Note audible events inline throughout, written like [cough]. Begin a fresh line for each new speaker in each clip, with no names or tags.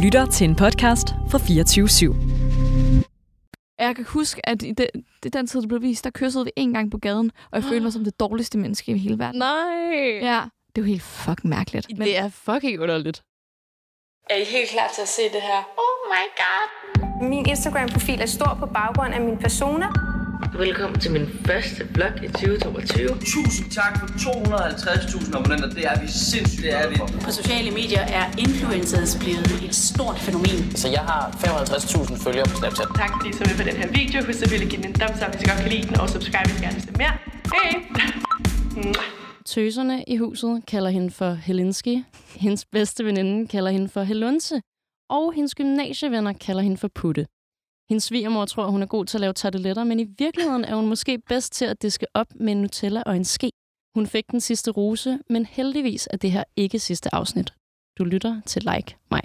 lytter til en podcast fra 24 /7.
Og jeg kan huske, at i det, det den tid, det blev vist, der kyssede vi en gang på gaden, og [gasps] jeg følte mig som det dårligste menneske i hele verden.
Nej. Ja.
Ja, det er jo helt fucking mærkeligt. Men
Det er fucking underligt.
Er I helt klar til at se det her?
Min Instagram-profil er stor på baggrund af min persona.
Velkommen til min første blog i 2022.
Tusind tak for 250.000 abonnenter. Det er vi sindssygt det er vi.
På sociale medier er influencers blevet et stort fænomen.
Så jeg har 55.000 følgere på Snapchat.
Tak fordi I så med på den her video. Husk selvfølgelig at give den en thumbs up, hvis I godt kan lide den, og subscribe, hvis I gerne vil se mere. Hej!
Tøserne i huset kalder hende for Helinski. Hendes bedste veninde kalder hende for Helunse. Og hendes gymnasievenner kalder hende for Putte. Hendes svigermor tror, hun er god til at lave tarteletter, men i virkeligheden er hun måske bedst til at diske op med en Nutella og en ske. Hun fik den sidste rose, men heldigvis er det her ikke sidste afsnit. Du lytter til Like mig.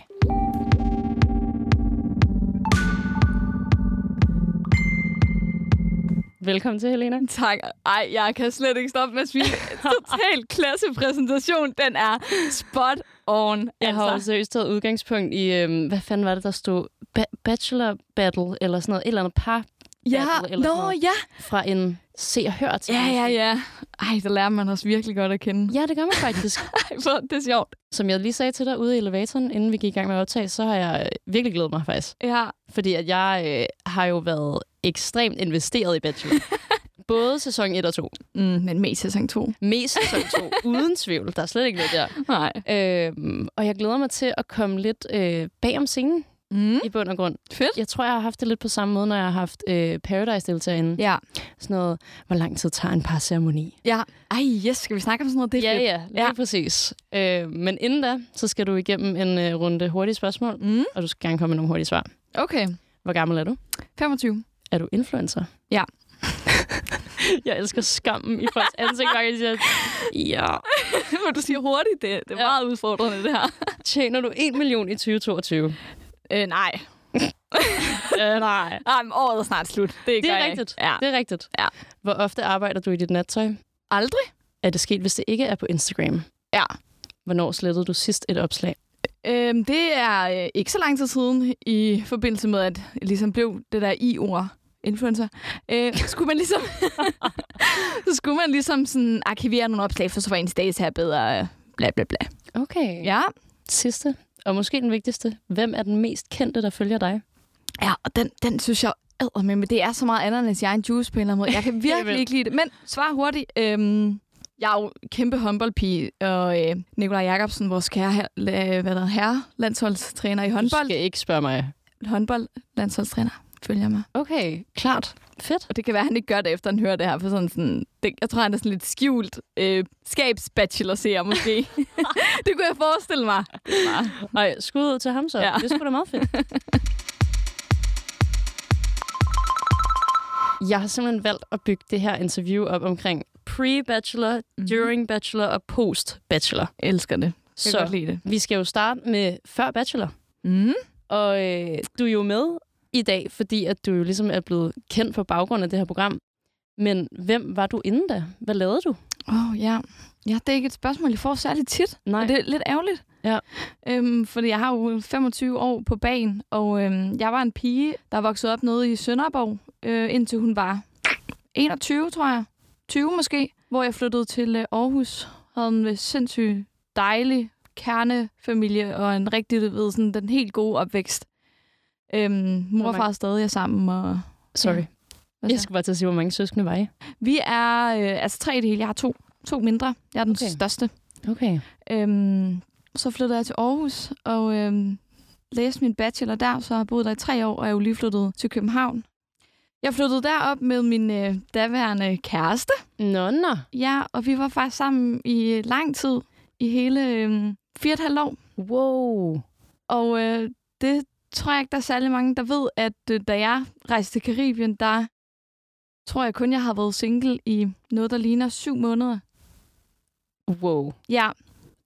Velkommen til, Helena.
tak. Ej, jeg kan slet ikke stoppe med at svine. [laughs] Total klassepræsentation, den er spot on. altså.
Jeg har jo seriøst taget udgangspunkt i, øhm, hvad fanden var det, der stod? Ba- bachelor Battle, eller sådan noget. Et eller andet par
ja,
battle eller sådan
nå,
noget.
ja.
fra en se og hør til.
Ja, ja, ja. Ej, der lærer man os virkelig godt at kende.
Ja, det gør man
[laughs]
faktisk.
Ej, hvor det er sjovt.
Som jeg lige sagde til dig ude i elevatoren, inden vi gik i gang med at optage, så har jeg øh, virkelig glædet mig faktisk.
Ja,
Fordi at jeg øh, har jo været ekstremt investeret i
[laughs]
Bachelor. Både sæson 1 og 2.
mm, men mest sæson 2.
Mest sæson
[laughs]
2, uden tvivl. Der er slet ikke noget der.
Nej.
Øhm, og jeg glæder mig til at komme lidt øh, bag om scenen
Mm.
i bund og grund.
Fedt.
Jeg tror, jeg har haft det lidt på samme måde, når jeg har haft øh, Paradise-deltager inde.
Ja.
Sådan noget, hvor lang tid tager en par ceremoni?
ja. Ej, yes, skal vi snakke om sådan noget? Det er
Ja,
fedt.
ja, lige
Ja.
ja. præcis. Øh, men inden da, så skal du igennem en øh, runde hurtige spørgsmål,
Mm.
og du skal gerne komme med nogle hurtige svar.
Okay,
Hvor gammel er du?
25.
Er du influencer?
Ja.
[laughs] jeg elsker skammen i folks ansigt, når jeg siger, ja.
[laughs] Hvor du siger hurtigt, det, det er
Ja.
meget udfordrende, det her.
Tjener du 1 million i 2022?
Øh, nej.
øh, nej.
Ej, Ah, men året er snart slut. Det,
Det er rigtigt.
Ja.
Det er rigtigt.
Ja.
Hvor ofte arbejder du i dit nattøj?
Aldrig?
Er det sket, hvis det ikke er på Instagram?
Ja.
Hvornår slettede du sidst et opslag?
Øhm, det er øh, ikke så lang tid siden, i forbindelse med, at jeg ligesom blev det der i-ord, influencer. Øh, skulle man ligesom, [laughs] så skulle man ligesom sådan arkivere nogle opslag, for så var ens dags her bedre, øh, bla bla bla.
Okay.
Ja.
Sidste, og måske den vigtigste. Hvem er den mest kendte, der følger dig?
Ja, og den, den synes jeg med, men det er så meget andet end jeg en juice på en eller anden måde. [laughs] Jeg kan virkelig
Jamen.
ikke lide det. Men svar hurtigt. Øhm, jeg er jo kæmpe håndboldpige, og øh, Nikolaj Jacobsen, vores kære her, la- hvad der, herre, landsholdstræner i
Du
håndbold,
skal ikke spørge mig.
håndbold, landsholdstræner, følger mig.
Okay, klart. Fedt.
Og det kan være, at han ikke gør det, efter han hører det her. For sådan, sådan, det, jeg tror, han er sådan lidt skjult øh, skabsbachelor-seer [laughs] måske. det kunne jeg forestille mig.
Nej, skud ud til ham så.
Ja.
Ja. Det skulle da meget fedt. [laughs] Jeg har simpelthen valgt at bygge det her interview op omkring pre-bachelor,
Mhm.
during bachelor og post-bachelor.
Jeg elsker det. Jeg kan godt
Så
lide det.
vi skal jo starte med før bachelor.
Mm.
Og øh, du er jo med i dag, fordi at du jo ligesom er blevet kendt på baggrund af det her program. Men hvem var du inden da? Hvad lavede du?
Åh, oh, ja. ja. det er ikke et spørgsmål, jeg får særlig tit.
Nej.
Og det er lidt ærgerligt.
Ja.
Øhm, fordi jeg har jo 25 år på bagen, og øhm, jeg var en pige, der voksede op nede i Sønderborg, øh, indtil hun var 21, tror jeg. 20 måske. Hvor jeg flyttede til øh, Aarhus. Havde en øh, sindssygt dejlig kernefamilie, og en rigtig, du ved, sådan, den helt gode opvækst. Øhm, mor og
mange-
far er stadig sammen, og
Sorry.
hvad
Jeg
så?
skal bare til at sige, hvor mange søskende var I?
vi er øh, altså tre i det hele. Jeg har to, to mindre. Jeg er den okay.
Okay.
største.
Okay.
Øhm, så flyttede jeg til Aarhus og øhm, læste min bachelor der, så har jeg boet der i tre år, og er jo lige flyttet til København. Jeg flyttede derop med min øh, daværende kæreste,
Nå, nå.
ja, og vi var faktisk sammen i øh, lang tid, i hele øh, fire og et halvt år.
Wow.
Og øh, det tror jeg ikke, der er særlig mange, der ved, at øh, da jeg rejste til Karibien, der tror jeg kun, jeg har været single i noget, der ligner syv måneder.
Wow.
Ja.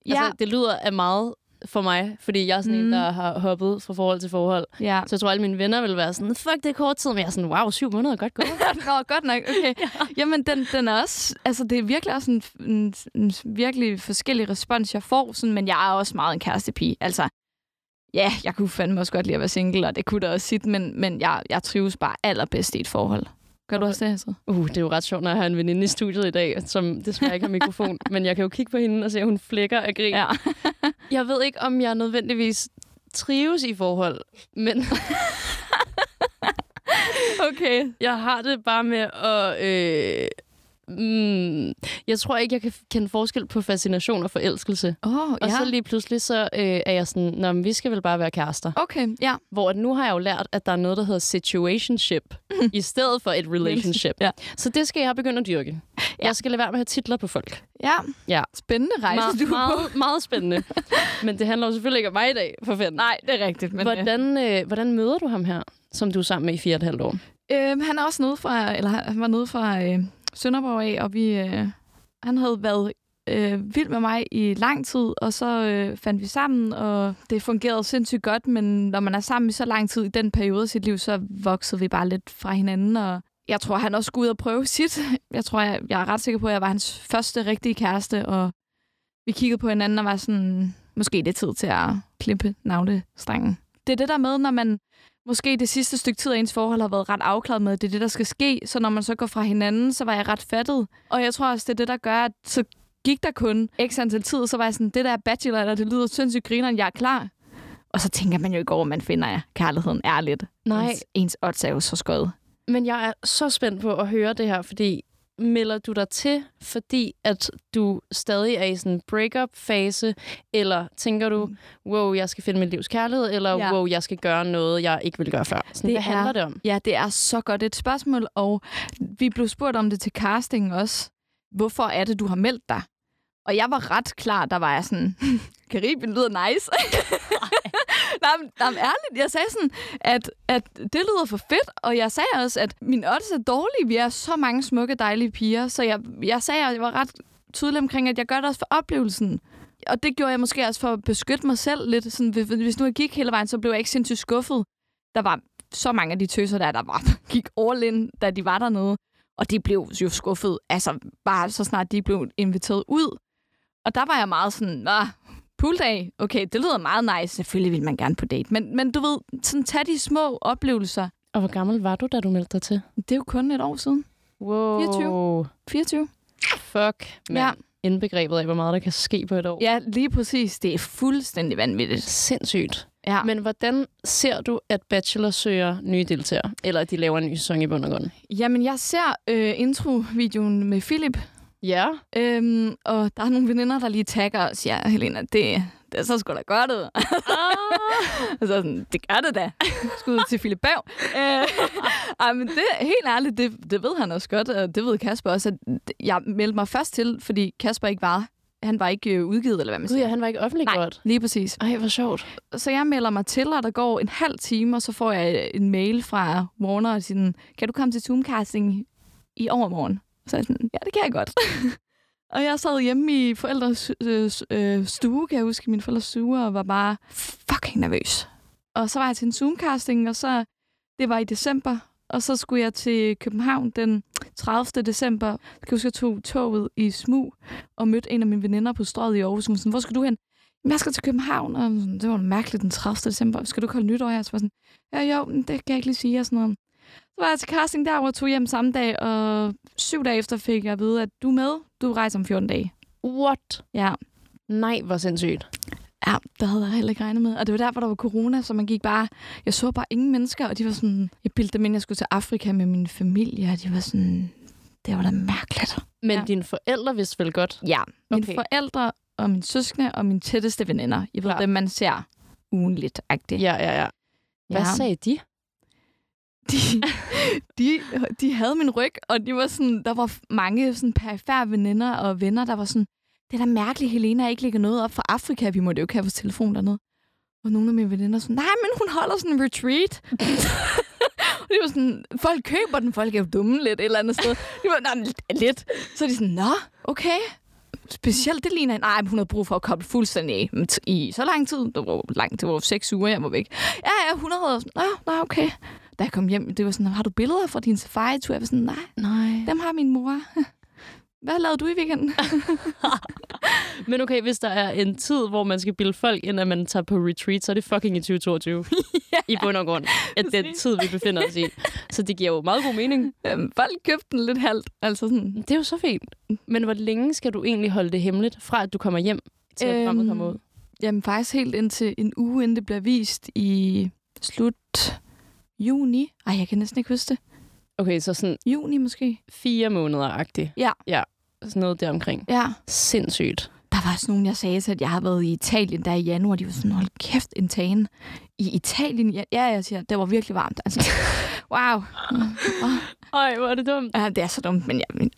Ja,
Altså, det lyder af meget for mig, fordi jeg er sådan mm.
Mm.
en, der har hoppet fra forhold til forhold.
ja.
Så jeg tror, alle mine venner vil være sådan, fuck, det er kort tid, men jeg er sådan, wow, syv måneder er godt [laughs] gået.
[laughs] Nå, godt nok. Okay. ja. Jamen, den, den er også... Altså, det er virkelig også en, en, en virkelig forskellig respons, jeg får, sådan, men jeg er også meget en kærestepige. Altså, ja, jeg kunne fandme også godt lide at være single, og det kunne da også sit, men, men jeg, jeg trives bare allerbedst i et forhold. Gør du også det, altså?
Uh, det er jo ret sjovt, når jeg har en veninde i studiet i dag, som desværre ikke har [laughs] mikrofon. men jeg kan jo kigge på hende og se, at hun flækker af grin. Ja. jeg ved ikke, om jeg nødvendigvis trives i forhold,
[laughs]
men... okay. Jeg har det bare med at... Øh, mm, jeg tror ikke, jeg kan f- kende forskel på fascination og forelskelse.
Åh, oh,
Og så lige pludselig, så øh, er jeg sådan, Nå, men vi skal vel bare være kærester.
Okay, ja.
Hvor at nu har jeg jo lært, at der er noget, der hedder
[laughs]
situationship, i stedet for et relationship.
Ja.
Så det skal jeg begynde at dyrke. Ja. Jeg skal lade være med at have titler på folk.
Ja.
Ja.
Spændende rejse,
Meget,
du er på.
meget, meget spændende. Men det handler jo selvfølgelig ikke om mig i dag, for fanden.
Nej, det er rigtigt. Men, øh,
Hvordan, øh, hvordan møder du ham her, som du er sammen med i fire og et halvt år?
Øhm, han er også nede fra, eller han var nede fra øh, Sønderborg af, og vi, øh, han havde været øh, vild med mig i lang tid, og så øh, fandt vi sammen, og det fungerede sindssygt godt, men når man er sammen i så lang tid i den periode af sit liv, så voksede vi bare lidt fra hinanden, og jeg tror, han også skulle ud og prøve sit. Jeg tror, jeg, jeg er ret sikker på, at jeg var hans første rigtige kæreste, og vi kiggede på hinanden og var sådan, måske det er tid til at klippe navlestangen. Det er det der med, når man måske det sidste stykke tid af ens forhold har været ret afklaret med, at det er det, der skal ske. Så når man så går fra hinanden, så var jeg ret fattet. Og jeg tror også, det er det, der gør, at så gik der kun x antal tid, så var jeg sådan, det der er bachelor, eller det lyder sindssygt grineren, jeg er klar. Og så tænker man jo ikke over, at man finder kærligheden ærligt.
Nej.
Ens, ens odds er jo så skøjet.
Men jeg er så spændt på at høre det her, fordi melder du dig til, fordi at du stadig er i sådan en breakup-fase, eller tænker du, wow, jeg skal finde min livs kærlighed, eller
Ja.
Mm. ja. wow, jeg skal gøre noget, jeg ikke ville gøre før? Sådan,
Det
det hvad handler
er-
det om?
Ja, det er så godt et spørgsmål, og vi blev spurgt om det til casting også. Hvorfor er det, du har meldt dig? Og jeg var ret klar, der var jeg sådan, [laughs] Karibien lyder
[laughs]
nice. nej, men, nej, men ærligt, jeg sagde sådan, at, at det lyder for fedt, og jeg sagde også, at min odds er dårlig. Vi er så mange smukke, dejlige piger, så jeg, jeg sagde, at jeg var ret tydelig omkring, at jeg gør det også for oplevelsen. Og det gjorde jeg måske også for at beskytte mig selv lidt. Sådan, hvis- hvis nu jeg gik hele vejen, så blev jeg ikke sindssygt skuffet. Der var så mange af de tøser der, der var, [laughs] gik all in, da de var dernede. Og de blev jo skuffet, altså bare så snart de blev inviteret ud. Og der var jeg meget sådan, nå, pooldag, okay, det lyder meget nice. Selvfølgelig vil man gerne på date. Men, men du ved, sådan tag de små oplevelser.
Og hvor gammel var du, da du meldte dig til?
Det er jo kun et år siden.
Wow.
24. 24.
Fuck, mand.
Ja.
Ja. Indbegrebet af, hvor meget der kan ske på et år.
Ja, lige præcis. Det er fuldstændig vanvittigt.
Sindssygt.
Ja.
Men hvordan ser du, at Bachelor søger nye deltagere? Eller at de laver en ny sæson i bund og grund?
Jamen, jeg ser øh, intro-videoen med Philip,
Ja.
øhm, og der er nogle veninder, der lige tagger os. Ja, Helena, det, det så sgu da godt ud.
Ah.
[laughs] Og så sådan, det gør det da. Skud til Philip Bav. Øh, [laughs] Ej, men det, helt ærligt, det, det ved han også godt, og det ved Kasper også, at jeg meldte mig først til, fordi Kasper ikke var, han var ikke øh, udgivet, eller hvad man
Gud,
siger.
ja, han var ikke offentliggjort.
Lige præcis.
Ej, hvor sjovt.
Så jeg melder mig til, og der går en halv time, og så får jeg en mail fra Warner, og siger, kan du komme til Zoomcasting i overmorgen? Så er jeg sådan, ja, det kan jeg godt. [laughs] og jeg sad hjemme i forældres øh, s- øh, stue, kan jeg huske, min forældres stue, og var bare fucking nervøs. Og så var jeg til en Zoomcasting, og så, det var i december, og så skulle jeg til København den 30. december. Så kan jeg huske, jeg tog toget i smug og mødte en af mine veninder på strøget i Aarhus. Hun var sådan, hvor skal du hen? "Jamen, jeg skal til København, og sådan, det var mærkeligt den 30. december. Skal du ikke holde nytår her? Så var jeg sådan, ja jo, men det kan jeg ikke lige sige, og sådan noget. Så var jeg til casting der, og tog hjem samme dag, og syv dage efter fik jeg at vide, at du er med, du rejser om 14 dage.
What?
Ja.
Nej, hvor sindssygt.
Ja, der havde jeg heller ikke regnet med. Og det var der, hvor der var corona, så man gik bare... Jeg så bare ingen mennesker, og de var sådan... Jeg bildte dem ind, jeg skulle til Afrika med min familie, og de var sådan... Det var da mærkeligt.
Men
Ja.
ja. dine forældre vidste vel godt?
Ja, mine
Okay.
forældre og mine søskende og mine tætteste veninder. Jeg ved,
Klart.
dem man ser ugenligt. Ja.
Ja, ja, ja. Hvad
ja.
sagde de?
de, de, de havde min ryg, og de var sådan, der var mange sådan perifære veninder og venner, der var sådan, det er da mærkeligt, Helena ikke lægger noget op fra Afrika, vi måtte jo ikke have vores telefon dernede. Og nogle af mine veninder sådan, nej, men hun holder sådan en retreat. [laughs] og de var sådan, folk køber den, folk er jo dumme lidt et eller andet sted. De var, nej, lidt. Så er de sådan, nå, okay. Specielt det ligner en, nej, men hun havde brug for at koble fuldstændig af Men t- i så lang tid. Det var jo langt, det var jo seks uger, jeg var væk. Ja, ja, 100 år. Nå, nå, okay da jeg kom hjem, det var sådan, har du billeder fra din safari-tur? Jeg var sådan, nej,
Nej.
dem har min mor. [laughs] Hvad lavede du i weekenden?
Men okay, hvis der er en tid, hvor man skal bilde folk ind, at man tager på retreat, så er det fucking i [laughs] 2022. [laughs] ja. I bund og grund. At den tid, vi befinder os i. Så det giver jo meget god
[laughs]
mening.
Øhm, folk købte den lidt halvt. Altså sådan,
Det er jo så fint. Men hvor længe skal du egentlig holde det hemmeligt, fra at du kommer hjem til
Øhm,
at programmet kommer ud?
jamen faktisk helt indtil en uge, inden det bliver vist i slut juni. Ej, jeg kan næsten ikke huske det.
Okay, så sådan
Juni måske.
fire måneder-agtigt.
Ja.
ja. Sådan noget deromkring.
Ja.
Sindssygt.
Der var også nogen, jeg sagde til, at jeg har været i Italien der i januar. De var sådan, hold kæft, en tagen. I Italien? Ja, ja, jeg siger, det var virkelig varmt. Altså, [laughs] wow.
Ej, hvor er det dumt.
Ja, det er så dumt, men jeg, men,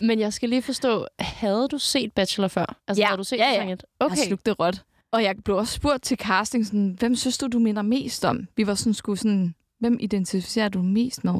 Men jeg skal lige forstå, havde du set Bachelor før? Altså,
Ja.
havde du set
Ja, ja.
sæson et?
okay. jeg
Okay.
slugte råt. Og jeg blev også spurgt til casting, sådan, hvem synes du, du minder mest om? Vi var sådan, skulle sådan, hvem identificerer du mest med?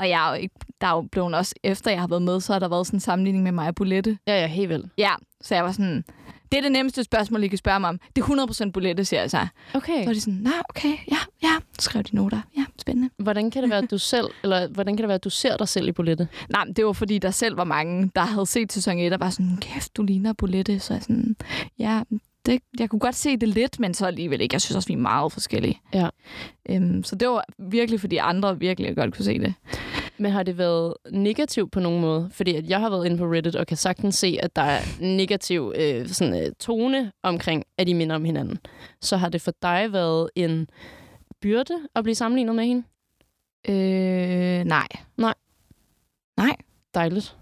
Og jeg er jo ikke, der er jo blevet også, efter jeg har været med, så har der været sådan en sammenligning med mig og Bulette.
Ja, ja, helt vel.
Ja, så jeg var sådan, det er det nemmeste spørgsmål, I kan spørge mig om. Det er 100% Bulette, siger jeg så.
Okay.
Så var de sådan, nej, okay, ja, ja, skrev de noter. Ja, spændende.
Hvordan kan det være, at du selv, [laughs] eller hvordan kan det være, at du ser dig selv i Bolette?
Nej, men det var fordi, der selv var mange, der havde set sæson 1, og var sådan, kæft, du ligner Bolette. Så jeg sådan, ja, det, jeg kunne godt se det lidt, men så alligevel ikke. Jeg synes også, vi er meget forskellige.
Ja.
Øhm, så det var virkelig, fordi andre virkelig godt kunne se det.
Men har det været negativt på nogen måde? Fordi at jeg har været inde på Reddit og kan sagtens se, at der er negativ øh, sådan, øh, tone omkring, at de minder om hinanden. Så har det for dig været en byrde at blive sammenlignet med hende?
Øh, nej.
Dejligt.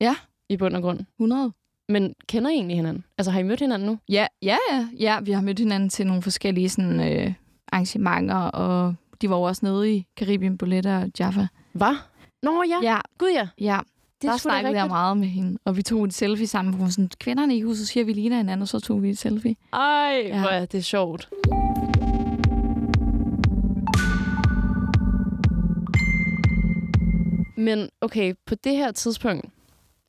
Ja.
I bund og grund.
100?
Men kender I egentlig hinanden? Altså har I mødt hinanden nu?
Ja, ja, ja, ja. Vi har mødt hinanden til nogle forskellige sådan, øh, arrangementer, og de var jo også nede i Karibien, Bolette og Jaffa.
Hvad? Nå ja.
Ja,
Gud ja.
ja.
Det
Det der
er sgu da
snakkede jeg
rigtigt.
meget med hende, og vi tog et selfie sammen. Hun var sådan, kvinderne i huset siger, at vi ligner hinanden, og så tog vi et selfie.
Ej,
Ja.
ja. hvor er det sjovt. Men okay, på det her tidspunkt,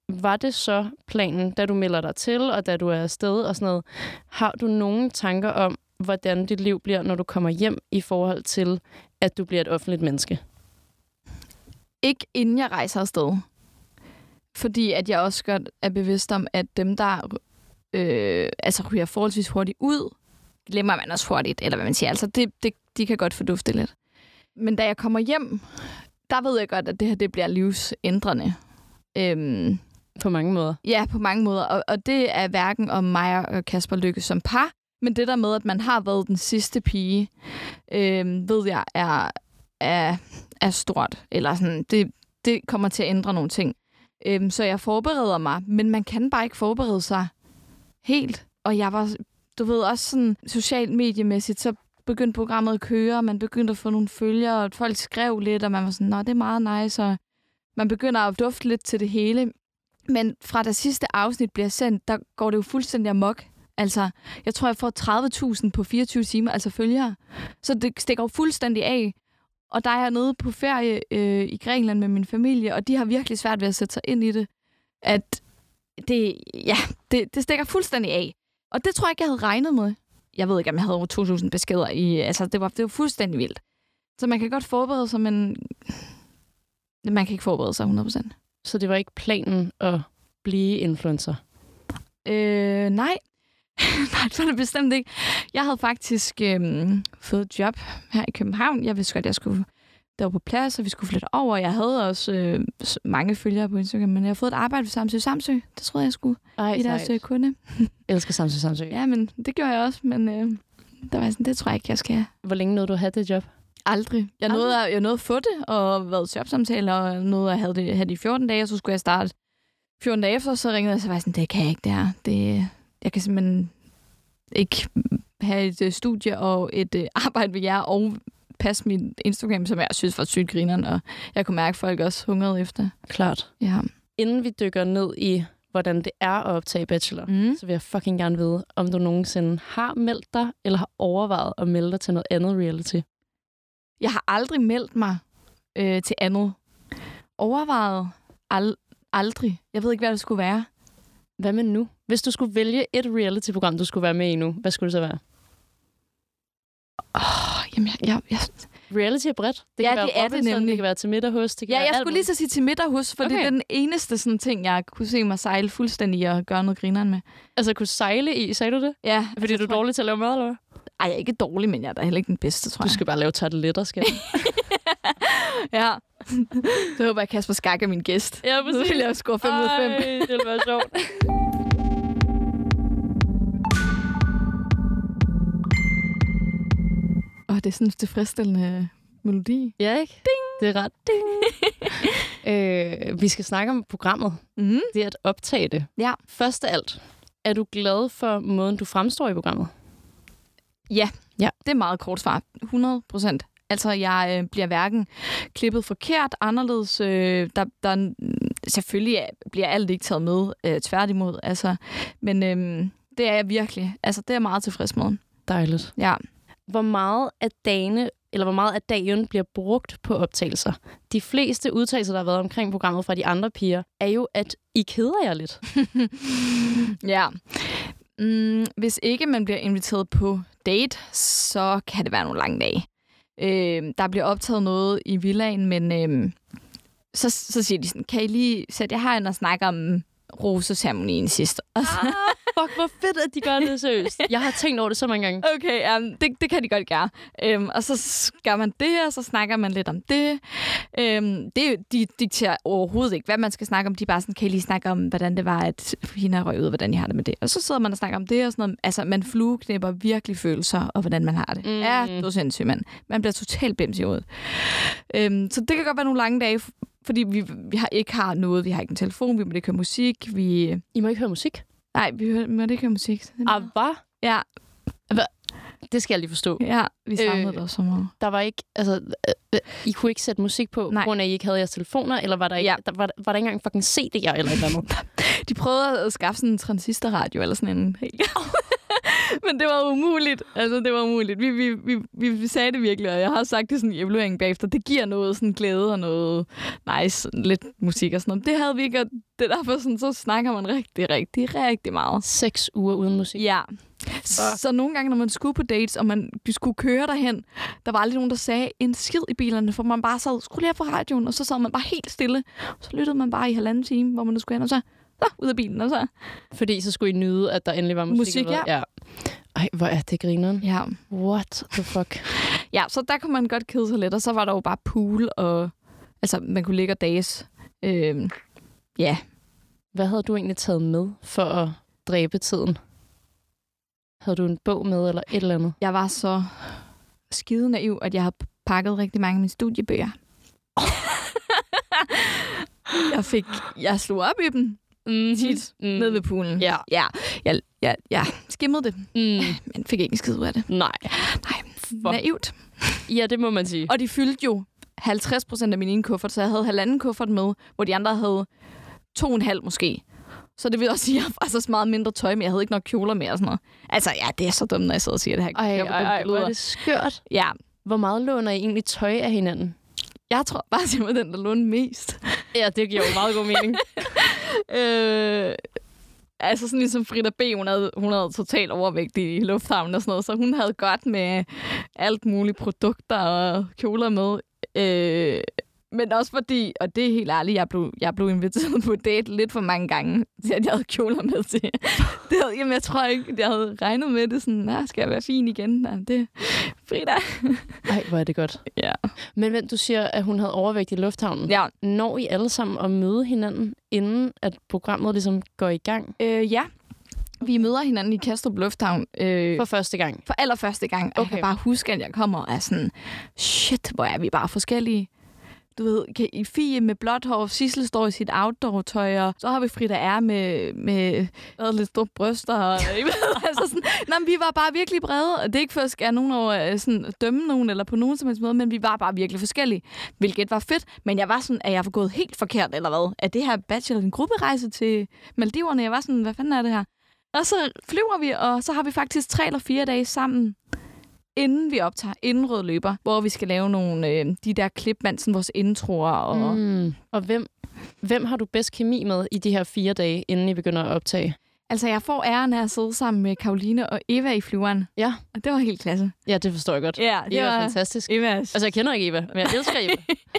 var det så planen, da du melder dig til, og da du er afsted og sådan noget, har du nogle tanker om, hvordan dit liv bliver, når du kommer hjem i forhold til, at du bliver et offentligt menneske?
Ikke inden jeg rejser afsted. Fordi at jeg også godt er bevidst om, at dem, der øh, altså ryger forholdsvis hurtigt ud, glemmer man også hurtigt, eller hvad man siger. Altså, det, det, de kan godt fordufte lidt. Men da jeg kommer hjem, der ved jeg godt, at det her det bliver livsændrende. Øhm,
På mange måder.
Ja, på mange måder. Og, og det er hverken om mig og Kasper Lykke som par, men det der med, at man har været den sidste pige, øh, ved jeg, er, er, er stort. Eller sådan, det, det kommer til at ændre nogle ting. Øh, så jeg forbereder mig, men man kan bare ikke forberede sig helt. Og jeg var, du ved, også sådan socialt mediemæssigt, så begyndte programmet at køre, og man begyndte at få nogle følgere, og folk skrev lidt, og man var sådan, nå, det er meget nice, og man begynder at dufte lidt til det hele. Men fra det sidste afsnit bliver sendt, der går det jo fuldstændig amok. Altså, jeg tror, jeg får 30.000 på 24 timer, altså følgere. Så det stikker jo fuldstændig af. Og der er jeg nede på ferie øh, i Grækenland med min familie, og de har virkelig svært ved at sætte sig ind i det. At det, ja, det, det stikker fuldstændig af. Og det tror jeg ikke, jeg havde regnet med. Jeg ved ikke, om jeg havde over 2.000 beskeder i... Altså, det var, det var fuldstændig vildt. Så man kan godt forberede sig, men man kan ikke forberede sig 100%.
Så det var ikke planen at blive influencer.
Øh, nej. [laughs] nej, det var det bestemt ikke. Jeg havde faktisk øhm, fået et job her i København. Jeg vidste godt, jeg skulle der var på plads, og vi skulle flytte over. Jeg havde også øh, s- mange følgere på Instagram, men jeg har fået et arbejde ved Samsø Samsø. Det troede jeg, jeg skulle
Ej,
i deres øh, kunde.
Jeg elsker Samsø Samsø. Ja.
Ja, men det gjorde jeg også, men øh, der var jeg sådan, det tror jeg ikke, jeg skal.
Hvor længe nåede du at have det job?
Aldrig. Jeg nåede, at, jeg nåede at få det, og været i jobsamtaler, og nåede at have det, have det i 14 dage, og så skulle jeg starte 14 dage efter, så ringede jeg, og så var jeg sådan, det kan jeg ikke, det her. Det, jeg kan simpelthen ikke have et øh, studie og et øh, [laughs] arbejde ved jer, og passe min Instagram, som jeg synes var sygt grineren, og jeg kunne mærke, at folk også hungrede efter.
Klart.
Ja.
inden vi dykker ned i, hvordan det er at optage bachelor,
Mm.
mm. så vil jeg fucking gerne vide, om du nogensinde har meldt dig, eller har overvejet at melde dig til noget andet reality.
Jeg har aldrig meldt mig øh, til andet. Overvejet al- aldrig. Jeg ved ikke, hvad det skulle være.
Hvad med nu? Hvis du skulle vælge et reality-program, du skulle være med i nu, hvad skulle det så være?
Jamen, jeg, jeg, jeg,
Reality er bredt. Det
Ja,
kan være
det er det
Robinson,
nemlig.
Det kan være til middag hos. Det kan
Ja,
være
jeg
alt
skulle lige
muligt.
så sige til middag hos, for okay. det er
Okay.
den eneste sådan, ting, jeg kunne se mig sejle fuldstændig og gøre noget grineren med.
Altså kunne sejle i, sagde du det?
Ja,
Fordi du er dårlig til at lave mad, eller hvad?
Ej, jeg er ikke dårlig, men jeg er da heller ikke den bedste, tror
Du
jeg.
skal bare lave tarteletter, [laughs] skal jeg.
[laughs] Ja. så håber jeg, at Kasper Skak er min gæst.
ja,
Nu vil jeg score 5 ud af 5.
det ville være sjovt.
Åh, det er sådan en tilfredsstillende melodi.
Ja, ikke? Ding. Det er ret ding. [laughs] øh, vi skal snakke om programmet.
Mm.
Det er at optage det.
Ja.
Først af alt, er du glad for måden, du fremstår i programmet?
Det er meget kort svar. 100 procent. Altså, jeg øh, bliver hverken klippet forkert, anderledes. Øh, der, der, mm, selvfølgelig er- bliver alt ikke taget med, øh, tværtimod. Altså, men øh, det er jeg virkelig. Altså, det er jeg meget tilfreds med.
Dejligt.
Ja.
Hvor meget af dagene eller hvor meget af dagen bliver brugt på optagelser. De fleste udtalelser, der har været omkring programmet fra de andre piger, er jo, at I keder jer lidt.
Ja. Mm, hvis ikke man bliver inviteret på date, så kan det være nogle lange dage. Øh, der bliver optaget noget i villaen, men øh, så, så siger de sådan, kan I lige sætte jer herind og snakke om roseceremonien sidst? Og så,
[laughs] Fuck, hvor fedt, at de gør det seriøst. [laughs] Jeg har tænkt over det så mange gange.
okay, um, det, det kan de godt gøre. Øhm, og så s- gør man det, og så snakker man lidt om det. Øhm, det er jo- de dikterer overhovedet ikke, hvad man skal snakke om. De er bare sådan, kan I lige snakke om, hvordan det var, at hende røg ud, og hvordan jeg har det med det. Og så sidder man og snakker om det og sådan noget. Altså, man flueknipper virkelig følelser, og hvordan man har det. Mm. Ja, det er sindssygt, mand. Man bliver totalt bims i hovedet. Øhm, så det kan godt være nogle lange dage, f- fordi vi, vi har ikke har noget. Vi har ikke en telefon, vi må ikke høre musik, vi...
I må ikke høre musik.
Nej, vi hører- vi må ikke høre musik.
Ah, hvad?
Ja,
Det skal jeg lige forstå.
ja, vi savnede øh,
Øh,
dig så meget.
Der var ikke, altså, øh, øh, I kunne ikke sætte musik på,
Nej.
på grund af, at I ikke havde jeres telefoner, eller var der, ikke,
Ja.
der, var, var der ikke engang fucking CD'er eller et eller [laughs] andet?
De prøvede at skaffe sådan en transistorradio eller sådan en. [laughs] Men det var umuligt. Altså, det var umuligt. Vi, vi, vi, vi- vi sagde det virkelig, og jeg har sagt det sådan i evalueringen bagefter. Det giver noget sådan glæde og noget nice, sådan lidt musik og sådan noget. Det havde vi ikke, og det er derfor sådan, så snakker man rigtig, rigtig, rigtig meget.
Seks uger uden musik.
Ja. Så. så nogle gange, når man skulle på dates, og man de skulle køre derhen, der var aldrig nogen, der sagde en skid i bilerne, for man bare sad, skulle lige på radioen, og så sad man bare helt stille. Så lyttede man bare i halvanden time, hvor man nu skulle hen, og så, så ud af bilen, og så...
Fordi så skulle I nyde, at der endelig var musik.
Musik,
eller hvad? ja. Ej, hvor er det grineren.
Ja.
What the fuck?
Ja, så der kunne man godt kede sig lidt, og så var der jo bare pool, og altså, man kunne ligge og dages. Øhm, ja,
Hvad havde du egentlig taget med for at dræbe tiden? Havde du en bog med, eller et eller andet?
jeg var så skide naiv, at jeg havde pakket rigtig mange af mine studiebøger. [laughs] jeg fik, jeg slog op i dem
Mm,
tit mm. nede ved poolen.
Ja.
ja. Jeg, jeg, jeg skimmede det,
Mm,
men fik ikke en skid ud af det.
nej. Fuck.
Naivt.
Ja, det må man sige.
[laughs] Og de fyldte jo 50 procent af min ene kuffert, så jeg havde halvanden kuffert med, hvor de andre havde to og en halv måske. Så det vil også sige, at jeg var så meget mindre tøj, men jeg havde ikke nok kjoler med og sådan noget. Altså, ja, det er så dumt, når jeg sidder og siger det her.
Ej,
Kæmpe
ej, ej, hvor
luder.
er det skørt.
Ja,
Hvor meget låner I egentlig tøj af hinanden?
jeg tror bare, at jeg var den, der lånte mest.
Ja, det giver jo meget god mening.
Øh, altså sådan ligesom Frida B., hun havde, hun havde totalt overvægtig i lufthavnen og sådan noget, så hun havde godt med alt muligt produkter og kjoler med. Øh, men også fordi, og det er helt ærligt, jeg blev, jeg blev inviteret på date lidt for mange gange, til at jeg havde kjoler med til. [laughs] Det havde, jamen, jeg tror ikke, jeg havde regnet med det. Sådan, nej, skal jeg være fin igen? Nej, det Frida.
Ej, hvor er det godt.
Ja.
Men vent, du siger, at hun havde overvægt i lufthavnen.
Ja,
Når I alle sammen at møde hinanden, inden at programmet ligesom går i gang
øh, ja. Vi møder hinanden i Kastrup Lufthavn. Øh,
for første gang?
for allerførste gang. Og okay. jeg kan
Okay.
bare huske, at jeg kommer og er sådan, shit, hvor er vi bare forskellige. Du ved, kan I Fie med blåt hår, Sissel står i sit outdoor-tøj, og så har vi Frida R. med, med hvad, lidt store bryster. Og, [laughs] I ved, altså sådan, nej, men vi var bare virkelig brede, og det er ikke for at skære nogen over øh, sådan, at dømme nogen eller på nogen som helst måde, men vi var bare virkelig forskellige, hvilket var fedt. Men jeg var sådan, at jeg var gået helt forkert, eller hvad? Er det her bachelor en grupperejse til Maldiverne? Jeg var sådan, hvad fanden er det her? Og så flyver vi, og så har vi faktisk tre eller fire dage sammen, inden vi optager, inden Rød Løber, hvor vi skal lave nogle, øh, de der klip, man, sådan vores introer. Og, mm.
Mm. Og hvem, hvem har du bedst kemi med i de her fire dage, inden I begynder at optage?
Altså, jeg får æren af at sidde sammen med Karoline og Eva i flyveren.
Ja.
Og det var helt klasse.
Ja, det forstår jeg godt.
Ja,
Eva er fantastisk.
Eva, er-
Altså, jeg kender ikke Eva, men jeg elsker Eva.
[laughs]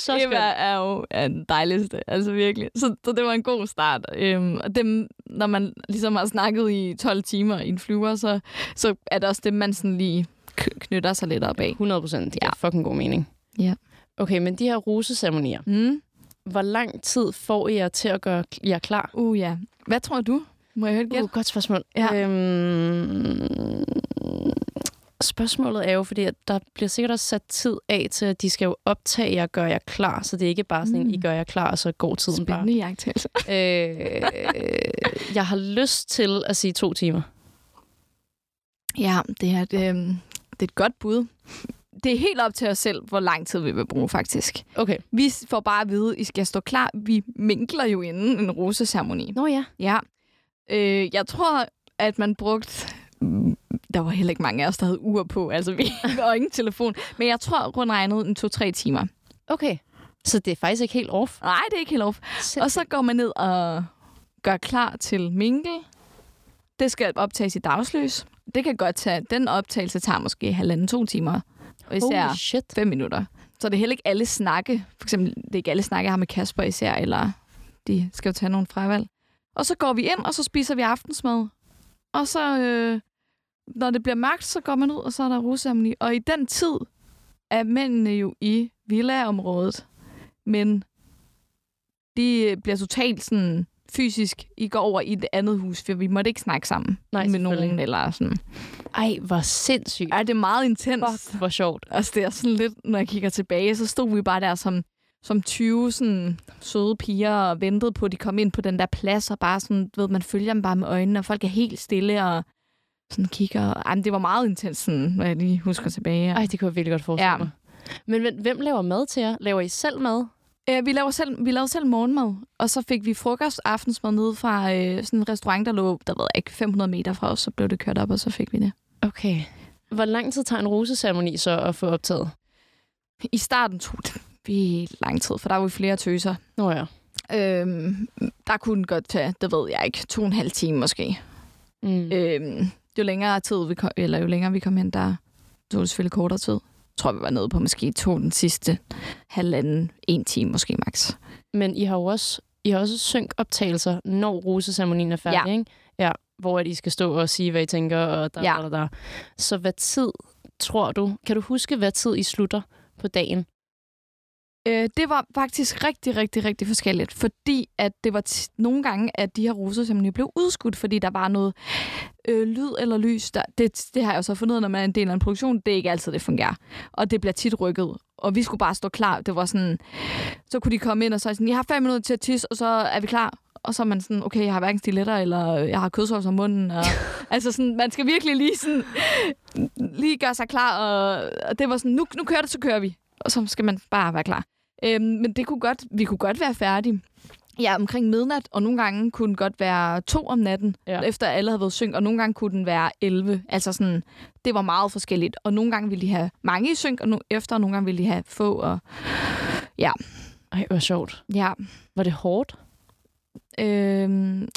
Så skønt.
Eva er jo er den dejligste, altså virkelig. Så, så det var en god start. Øhm, og dem, når man ligesom har snakket i 12 timer i en flyver, så, så er det også det, man sådan lige k- knytter sig lidt op af.
100 procent. Det giver fucking god mening.
Ja.
Okay, men de her roseceremonier,
Mm.
hvor lang tid får I jer til at gøre jer klar?
Uh ja. Hvad tror du? Må jeg høre et
Det er
gæt?
et Uh, godt spørgsmål.
Ja.
Øhm, spørgsmålet er jo, fordi at der bliver sikkert også sat tid af til, at de skal jo optage jer og gøre jer klar, så det er ikke bare sådan, mm.
Mm.
I gør jer klar, og så går tiden
Spændende jagttagelse.
bare. Øh, jeg har lyst til at sige to timer.
Ja, det er, et, øhm, det er et godt bud. Det er helt op til os selv, hvor lang tid vi vil bruge, faktisk.
Okay.
Vi får bare at vide, at I skal stå klar. Vi minkler jo inden en roseceremoni.
Nå ja.
Ja. Øh, jeg tror, at man brugte... mm, Der var heller ikke mange af os, der havde ur på. Altså, vi og ingen telefon. Men jeg tror rundt regnet en to-tre timer.
Okay. Så det er faktisk ikke helt off.
Nej, det er ikke helt off. Og så går man ned og gør klar til minkel. Det skal optages i dagslys. Det kan godt tage... Den optagelse tager måske halvanden, to timer. Og især
Holy shit.
fem minutter. Så det er heller ikke alle snakke. For eksempel, det er ikke alle snakke, jeg har med Kasper især, eller de skal jo tage nogle fravalg. Og så går vi ind, og så spiser vi aftensmad. Og så, øh, når det bliver mørkt, så går man ud, og så er der rosamni. Og i den tid er mændene jo i villaområdet. Men de øh, bliver totalt sådan fysisk, I går over i et andet hus, for vi måtte ikke snakke sammen
Nej,
med
selvfølgelig.
nogen. Eller sådan.
Ej, hvor sindssygt.
Ej, det er meget intens.
Fuck, hvor sjovt.
Altså, det er sådan lidt, når jeg kigger tilbage, så stod vi bare der som, som 20 sådan, søde piger og ventede på, at de kom ind på den der plads, og bare sådan, du ved, man følger dem bare med øjnene, og folk er helt stille og sådan kigger. Ej, men det var meget intens, sådan, når jeg lige husker tilbage.
Ej, det kunne jeg virkelig godt forestille ja.
Ja.
mig. Men, men hvem laver mad til jer? Laver I selv mad?
Æ, Øh, vi, laver selv, vi lavede selv morgenmad, og så fik vi frokost aftensmad nede fra øh, sådan en restaurant, der lå, der ved jeg ikke, 500 meter fra os, så blev det kørt op, og så fik vi det.
Okay. Hvor lang tid tager en roseceremoni så at få optaget?
I starten tog det virkelig lang tid, for der var jo flere tøser.
Nå ja.
Øhm, der kunne den godt tage, det ved jeg ikke, to og en halv time måske.
Mm. Øh.
Øhm, jo længere tid vi kom, eller jo længere vi kom hen, der tog det selvfølgelig kortere tid. Jeg tror, vi var nede på måske to den sidste halvanden, en time måske max.
Men I har jo også, I har også synkoptagelser, når roseceremonien er færdig, ja. ikke? Ja, hvor at I skal stå og sige, hvad I tænker, og der, ja.
Ja.
der, der, der. Så hvad tid tror du? Kan du huske, hvad tid I slutter på dagen?
Øh, det var faktisk rigtig, rigtig, rigtig forskelligt, fordi at det var t- nogle gange, at de her roser simpelthen blev udskudt, fordi der var noget øh, lyd eller lys. Der, det, det har jeg jo så fundet ud af, når man er en del af en produktion. Det er ikke altid, det fungerer. Og det bliver tit rykket. Og vi skulle bare stå klar. Det var sådan, så kunne de komme ind og så sådan, jeg har fem minutter til at tisse, og så er vi klar. Og så er man sådan, okay, jeg har hverken stiletter, eller jeg har kødsovs om munden. Og, altså sådan, man skal virkelig lige sådan, lige gøre sig klar. Og, og det var sådan, nu, nu kører det, så kører vi. Og så skal man bare være klar. Øhm, men det kunne godt, vi kunne godt være færdige. Ja, omkring midnat, og nogle gange kunne den godt være to om natten,
Ja.
ja. efter alle havde været synk, og nogle gange kunne den være 11. Altså sådan, det var meget forskelligt. Og nogle gange ville de have mange i synk, og nu, efter, og nogle gange ville de have få. Og,
Ej, hvor sjovt.
ja,
Var det hårdt?
øhm,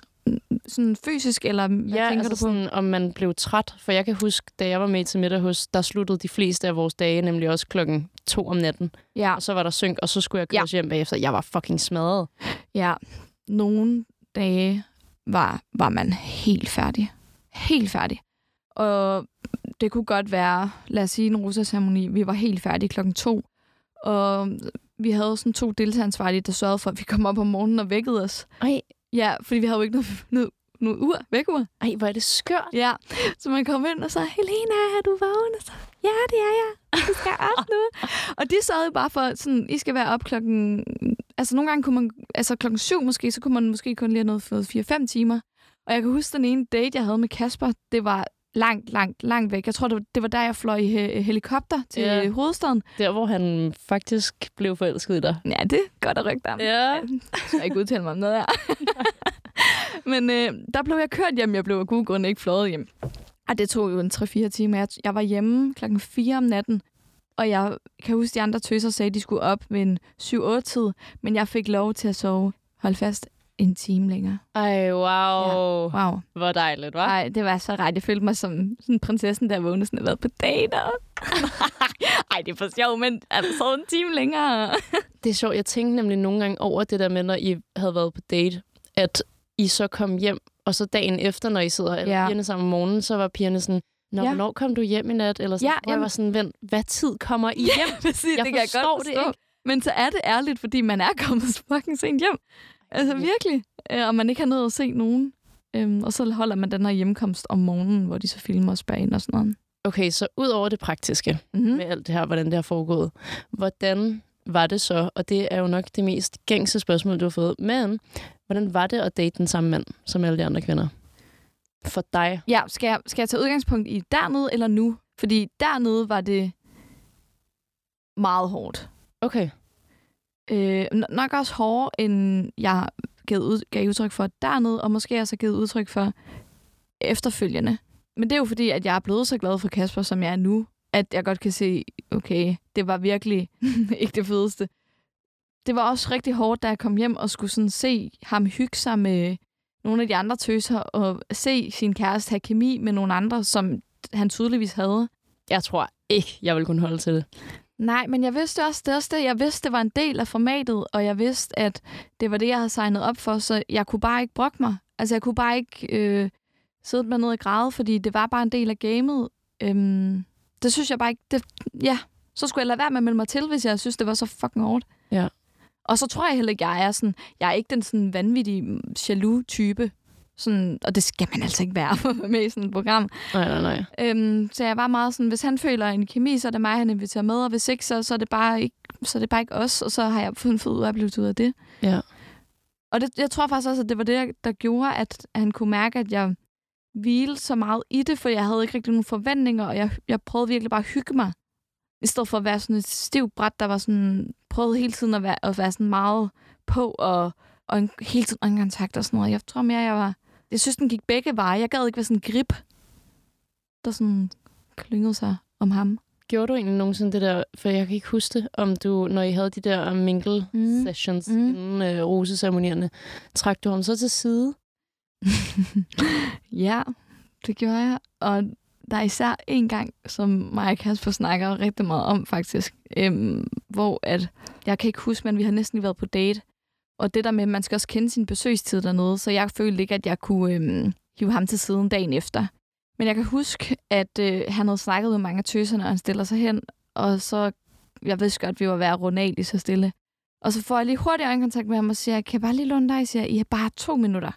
sådan fysisk, eller hvad
ja,
ja, tænker
altså
du på?
Sådan, om man blev træt. For jeg kan huske, da jeg var med til middag hos, der sluttede de fleste af vores dage, nemlig også klokken to om natten.
Ja,
Og så var der synk, og så skulle jeg køres ja. hjem bagefter. Jeg var fucking smadret.
ja. Nogle dage var, var man helt færdig. Helt færdig. Og det kunne godt være, lad os sige, en russerceremoni. Vi var helt færdige klokken to. Og vi havde sådan to deltageransvarlige, der sørgede for, at vi kom op om morgenen og vækkede os.
Ej.
Ja, fordi vi havde jo ikke noget, noget, noget ur, vækkeur.
Ej, hvor er det skørt.
Ja, så man kom ind og sagde, Helena, er du vågen? Og så, ja, det er jeg. Vi skal også nu. og de sad jo bare for, sådan, I skal være op klokken... Altså nogle gange kunne man... Altså klokken syv måske, så kunne man måske kun lige have noget for 4-5 timer. Og jeg kan huske den ene date, jeg havde med Kasper, det var langt, langt, langt væk. Jeg tror, det var, det var der, jeg fløj i he- helikopter til
Ja.
yeah. hovedstaden.
Der, hvor han faktisk blev forelsket i dig.
Ja, det er godt at rykke dig.
Ja.
Jeg skal ikke udtale mig om noget her. Men øh, der blev jeg kørt hjem. Jeg blev af gode grunde ikke fløjet hjem. Og det tog jo en 3-4 timer. Jeg, jeg var hjemme klokken 4 om natten. Og jeg kan huske, de andre tøser sagde, at de skulle op ved en 7-8-tid. Men jeg fik lov til at sove, hold fast, en time længere.
Ej, wow. Ja.
Wow.
Hvor dejligt, hva'?
Nej, det var så ret. Jeg følte mig som sådan prinsessen, der vågnede sådan og været på dater. Ej, det er for sjov, men er der så en time længere?
Det er sjovt. Jeg tænkte nemlig nogle gange over det der med, når I havde været på date, at I så kom hjem, og så dagen efter, når I sidder alle
Ja.
pigerne sammen om morgenen, så var pigerne sådan, Nå,
Ja.
ja. hvornår kom du hjem i nat? Eller sådan,
Ja,
ja, hvor jeg
jamen-
var sådan, vent, hvad tid kommer I hjem?
[laughs] Præcis,
Jeg forstår det ikke.
Men så er det ærligt, fordi man er [laughs] kommet så fucking sent hjem. Altså virkelig. Øh, Og man ikke har nået at se nogen. Øhm, og så holder man den her hjemkomst om morgenen, hvor de så filmer os bag og sådan noget.
Okay, så ud over det praktiske mm.
Mm-hmm.
med alt det her, hvordan det har foregået, hvordan var det så, og det er jo nok det mest gængse spørgsmål, du har fået, men hvordan var det at date den samme mand, som alle de andre kvinder? For dig.
Ja, skal jeg, skal jeg tage udgangspunkt i dernede eller nu? Fordi dernede var det meget hårdt.
Okay.
Øh, n- nok også hårdere, end jeg gav, ud, gav udtryk for dernede, og måske også har givet udtryk for efterfølgende. Men det er jo fordi, at jeg er blevet så glad for Kasper, som jeg er nu, at jeg godt kan se, okay, det var virkelig [laughs] ikke det fedeste. Det var også rigtig hårdt, da jeg kom hjem og skulle sådan se ham hygge sig med nogle af de andre tøser, og se sin kæreste have kemi med nogle andre, som han tydeligvis havde.
Jeg tror ikke, jeg vil kunne holde til det.
Nej, men jeg vidste også det, også det. Jeg vidste, det var en del af formatet, og jeg vidste, at det var det, jeg havde signet op for, så jeg kunne bare ikke brokke mig. Altså, jeg kunne bare ikke øh, sidde med noget og græde, fordi det var bare en del af gamet. Øhm, det synes jeg bare ikke... Det, ja, så skulle jeg lade være med at melde mig til, hvis jeg synes, det var så fucking hårdt.
Ja.
Og så tror jeg heller ikke, jeg er sådan... Jeg er ikke den sådan vanvittige jaloux-type. Sådan, og det skal man altså ikke være [laughs] for at være med i sådan et program.
Nej, nej, nej.
Øhm, så jeg var meget sådan, hvis han føler en kemi, så er det mig, han inviterer med, og hvis ikke, så, så, er, det bare ikke, så er det bare ikke os, og så har jeg fundet fed oplevelse ud af det.
Ja.
Og det, jeg tror faktisk også, at det var det, der gjorde, at han kunne mærke, at jeg hvilede så meget i det, for jeg havde ikke rigtig nogen forventninger, og jeg, jeg prøvede virkelig bare at hygge mig, i stedet for at være sådan et stiv bræt, der var sådan, prøvede hele tiden at være, at være sådan meget på, og, og en, hele tiden øjenkontakt og sådan noget. Jeg tror mere, jeg var... Jeg synes, den gik begge veje. Jeg gad ikke være sådan en grip der sådan klyngede sig om ham.
Gjorde du egentlig nogensinde det der, for jeg kan ikke huske det, om du, når I havde de der mingle
Mm.
sessions
Mm.
mm. inden øh, roseceremonierne, trak du ham så til side?
[laughs] ja, det gjorde jeg. Og der er især en gang, som mig og Kasper snakker rigtig meget om faktisk, øhm, hvor at, jeg kan ikke huske, men vi har næsten lige været på date. Og det der med, at man skal også kende sin besøgstid dernede, så jeg følte ikke, at jeg kunne øhm, hive ham til siden dagen efter. Men jeg kan huske, at øh, han havde snakket med mange af tøserne, og han stiller sig hen, og så, jeg vidste godt, at vi var ved at runde af lige så stille. Og så får jeg lige hurtigt øjenkontakt med ham og siger, kan jeg bare lige låne dig? Jeg siger, I har bare to minutter.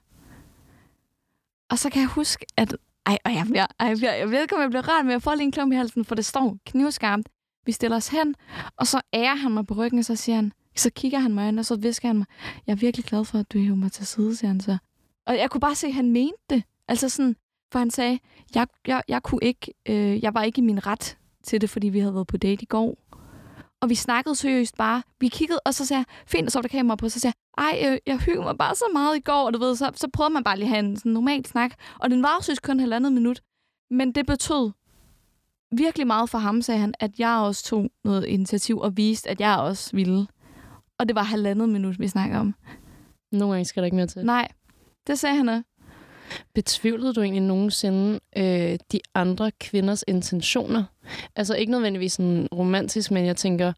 Og så kan jeg huske, at... Ej, og jeg, bliver, ej, jeg, bliver, jeg ved ikke, om jeg bliver rørt, men jeg får lige en klump i halsen, for det står knivskarpt. Vi stiller os hen, og så ærer han mig på ryggen, og så siger han... Så kigger han mig ind, og så visker han mig, jeg er virkelig glad for, at du hiver mig til side, siger han så. Og jeg kunne bare se, at han mente det. Altså sådan, for han sagde, jeg, jeg, jeg kunne ikke, øh, jeg var ikke i min ret til det, fordi vi havde været på date i går. Og vi snakkede seriøst bare. Vi kiggede, og så sagde jeg, fint, og så var der kamera på, og så sagde jeg, ej, øh, jeg hyggede mig bare så meget i går, og du ved, så, så prøvede man bare lige at have en sådan normal snak. Og den var også kun halvandet minut. Men det betød virkelig meget for ham, sagde han, at jeg også tog noget initiativ og viste, at jeg også ville. Og det var halvandet minut, vi snakker om.
Nogle gange skal der ikke mere til.
Nej, det sagde han øh, også.
Betvivlede du egentlig nogensinde øh, de andre kvinders intentioner? Altså ikke nødvendigvis sådan romantisk, men jeg tænker,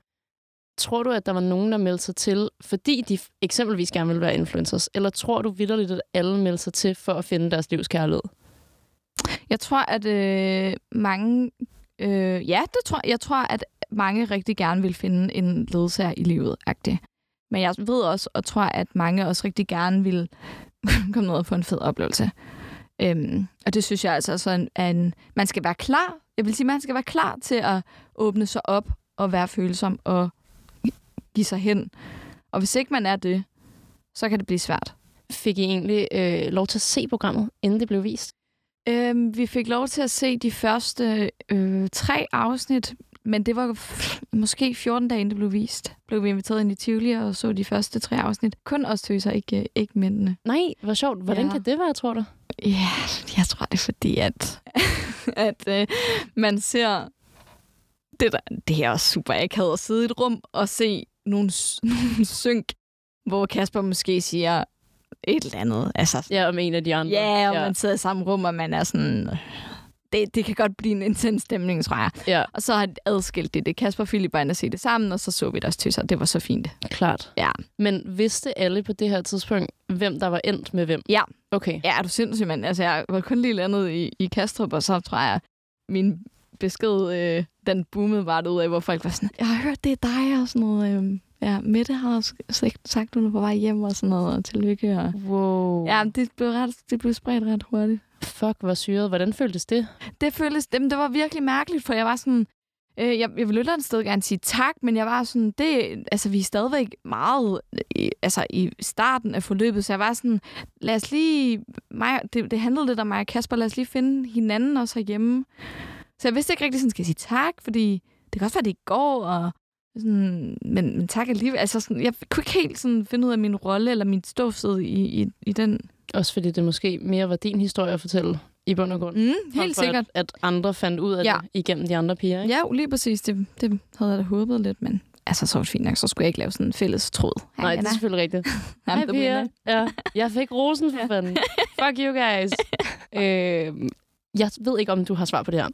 tror du, at der var nogen, der meldte sig til, fordi de f- eksempelvis gerne ville være influencers? Eller tror du vidderligt, at alle meldte sig til for at finde deres livs kærlighed?
Jeg tror, at øh, mange... Øh, ja, det tror, jeg tror, at mange rigtig gerne vil finde en ledsager i livet. -agtig. Men jeg ved også, og tror, at mange også rigtig gerne vil [laughs] komme ned og få en fed oplevelse. Øhm, og det synes jeg altså også er en, er en... Man skal være klar. Jeg vil sige, man skal være klar til at åbne sig op og være følsom og give sig hen. Og hvis ikke man er det, så kan det blive svært.
Fik I egentlig øh, lov til at se programmet, inden det blev vist?
Øhm, vi fik lov til at se de første øh, tre afsnit, men det var f- måske 14 dage, inden det blev vist. Blev vi inviteret ind i Tivoli og så de første tre afsnit. Kun os tøser, ikke, ikke mændene.
Nej, hvor sjovt. Hvordan
Ja.
ja. kan det være, tror du?
Ja, jeg tror, det er fordi, at, [laughs] at øh, man ser... Det, der, det er også super akavet at sidde i [laughs] et rum og se nogle, s- nogle synk, hvor Kasper måske siger et eller andet. Altså,
ja, om en af de andre.
Ja, og ja. man sidder i samme rum, og man er sådan... Det, det kan godt blive en intens stemning, tror jeg.
Ja.
Og så har de adskilt det. Det Kasper og Philip var inde og se det sammen, og så så vi deres tøser, og det var så fint.
Klart.
Ja.
Men vidste alle på det her tidspunkt, hvem der var endt med hvem?
Ja.
Okay.
Ja, er du sindssyg, mand? Altså, jeg var kun lige landet i, i Kastrup, og så tror jeg, min besked, øh, den boomede bare ud af, hvor folk var sådan, jeg har hørt, det er dig, og sådan noget. Øh, ja, Mette har også sagt, at hun er på vej hjem og sådan noget, og tillykke. Og...
Wow.
Ja, det blev, ret, det blev spredt ret hurtigt.
Fuck, hvor syret. Hvordan føltes det?
Det føltes, jamen, det var virkelig mærkeligt, for jeg var sådan, øh, jeg, jeg ville et andet sted gerne sige tak, men jeg var sådan, det, altså vi er stadigvæk meget i, altså, i starten af forløbet, så jeg var sådan, lad os lige, mig, det, det handlede lidt om mig og Kasper, lad os lige finde hinanden også herhjemme. Så jeg vidste ikke rigtig, sådan, skal jeg sige tak, fordi det kan også være, det i går, og sådan, men, men tak alligevel. Altså, sådan, jeg kunne ikke helt sådan finde ud af min rolle eller min ståsted i, i, i den.
Også fordi det måske mere var din historie at fortælle i bund og grund.
Mm, helt
for,
sikkert.
At, at andre fandt ud af
Ja.
det igennem de andre piger, ikke?
Ja, jo, lige præcis. Det, det havde jeg da håbet lidt, men altså så var det fint nok, så skulle jeg ikke lave sådan en fælles tråd.
Nej, det er selvfølgelig rigtigt.
I'm
Hej,
the
piger.
winner.
Ja. Jeg fik rosen [laughs] for [laughs] fanden. Fuck you guys. øhm, jeg ved ikke, om du har svar på det her.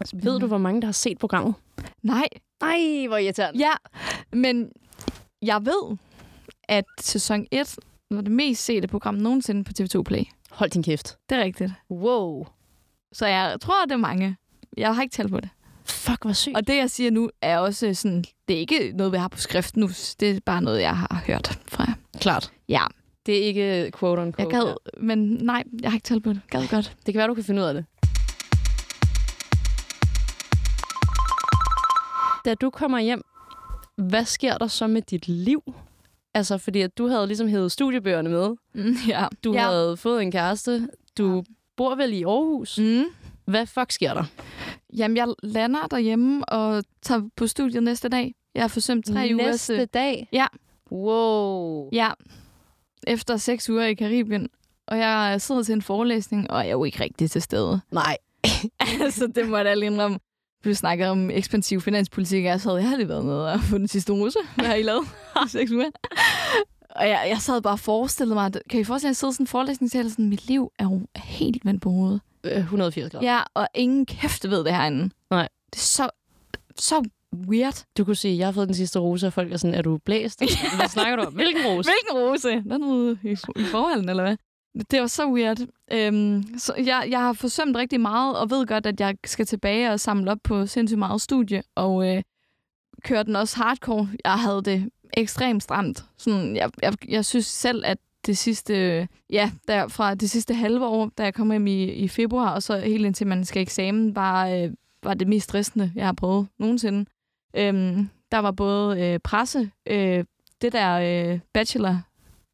Altså, Ved du, hvor mange, der har set programmet?
[laughs] Nej,
Mm. Nej, hvor irriterende.
ja, men jeg ved, at sæson 1 var det mest sete program nogensinde på TV2 Play.
Hold din kæft.
Det er rigtigt.
Wow.
Så jeg tror, det er mange. Jeg har ikke talt på det.
Fuck, hvor sygt.
Og det, jeg siger nu, er også sådan, det er ikke noget, vi har på skrift nu. Det er bare noget, jeg har hørt fra jer.
Klart.
Ja,
Det er ikke quote on
jeg
quote.
gad, men nej, jeg har ikke talt på det. Gad godt.
Det kan være, du kan finde ud af det. Da du kommer hjem, hvad sker der så med dit liv? Altså, fordi at du havde ligesom hævet studiebøgerne med.
Mm, [laughs] ja.
Du
ja.
ja. havde fået en kæreste. Du ja. bor vel i Aarhus? Mm.
Mm.
Hvad fuck sker der?
Jamen, jeg lander derhjemme og tager på studiet næste dag. Jeg har forsømt tre uger.
Næste dag?
Ja.
Wow.
Ja. Efter seks uger i Karibien. Og jeg sidder til en forelæsning, og jeg er jo ikke rigtig til stede.
[laughs] Nej.
altså, det må jeg da lige indrømme. Vi snakker om ekspansiv finanspolitik, og jeg sad, jeg har lige været nede og fundet sidste rose. [laughs] Hvad har I lavet? I seks uger. Og jeg, jeg sad bare og forestillede mig, at- kan I forestille jer, at jeg sidder i sådan en forelæsningssal, og sådan, mit liv er jo helt vendt på hovedet.
Øh, 180 grader.
Ja, og ingen kæft ved det herinde.
Nej.
Det er så, så weird.
Du kunne sige, jeg har fået den sidste rose, og folk er sådan, er du blæst? [laughs] Hvad snakker du om? [laughs] Hvilken rose?
Hvilken rose? Der er noget i, i forholden, eller hvad? Det var så weird. Øhm, så jeg, jeg har forsømt rigtig meget, og ved godt, at jeg skal tilbage og samle op på sindssygt meget studie, og øh, køre den også hardcore. Jeg havde det ekstremt stramt. Sådan, jeg, jeg, jeg synes selv, at det sidste, ja, der fra det sidste halve år, da jeg kom hjem i, i februar, og så helt indtil man skal eksamen, var, øh, var det mest stressende, jeg har prøvet nogensinde. Øhm, der var både øh, presse, øh, det der øh, bachelor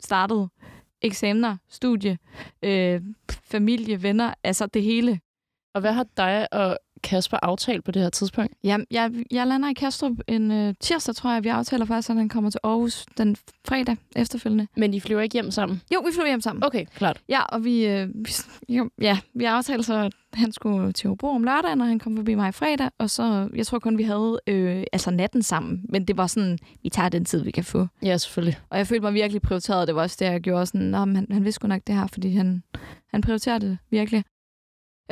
startede, eksamener, studie, øh, familie, venner, altså det hele.
Og hvad har dig og Kasper aftalt på det her tidspunkt?
Jeg, jeg, jeg lander i Kastrup en øh, tirsdag, tror jeg, vi aftaler faktisk, at han kommer til Aarhus den fredag efterfølgende.
Men I flyver ikke hjem sammen?
Jo, vi flyver hjem sammen.
Okay, klart.
Ja, og vi, øh, vi, jo, ja, vi aftalte så, at han skulle til Hobro om lørdagen, og han kom forbi mig fredag, og så, jeg tror kun, vi havde øh, altså natten sammen, men det var sådan, vi tager den tid, vi kan få.
Ja, selvfølgelig.
Og jeg følte mig virkelig prioriteret, det var også det, jeg gjorde sådan, Nå, men han, han vidste sgu nok det her, fordi han, han prioriterer det virkelig.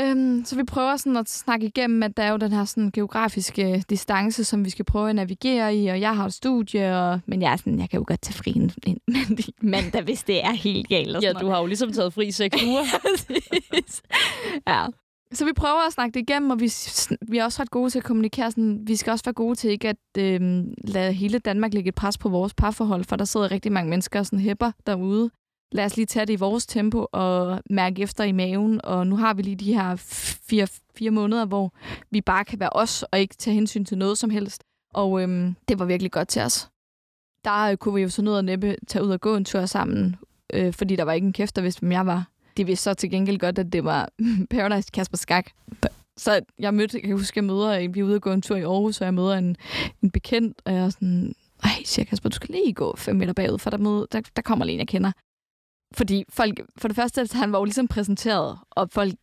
Øhm, så vi prøver sådan at snakke igennem, at der er jo den her sådan geografiske øh, distance, som vi skal prøve at navigere i, og jeg har et studie, og, men jeg er sådan, jeg kan jo godt tage fri en, en mandag- mandag, hvis det er helt galt. Og
Ja,
sådan noget.
du har jo ligesom taget fri i
[laughs]
seks uger.
Præcis. [laughs] ja. Så vi prøver at snakke det igennem, og vi, vi er også ret gode til at kommunikere. Sådan, vi skal også være gode til ikke at øh, lade hele Danmark lægge et pres på vores parforhold, for der sidder rigtig mange mennesker og sådan hæpper derude. Lad os lige tage det i vores tempo og mærke efter i maven. Og nu har vi lige de her fire, fire måneder, hvor vi bare kan være os og ikke tage hensyn til noget som helst. Og øhm, det var virkelig godt til os. Der øh, kunne vi jo så noget at næppe tage ud og gå en tur sammen, øh, fordi der var ikke en kæft, der vidste, hvem jeg var. De vidste så til gengæld godt, at det var [laughs] Paradise Kasper Skak. Så jeg mødte, jeg kan huske, jeg møder, vi er ude og gå en tur i Aarhus, og jeg møder en, en bekendt, og jeg er sådan, ej, siger Kasper, du skal lige gå fem meter bagud, for der, møde, der, der kommer lige en, jeg kender. Fordi folk, for det første, han var jo ligesom præsenteret, og folk,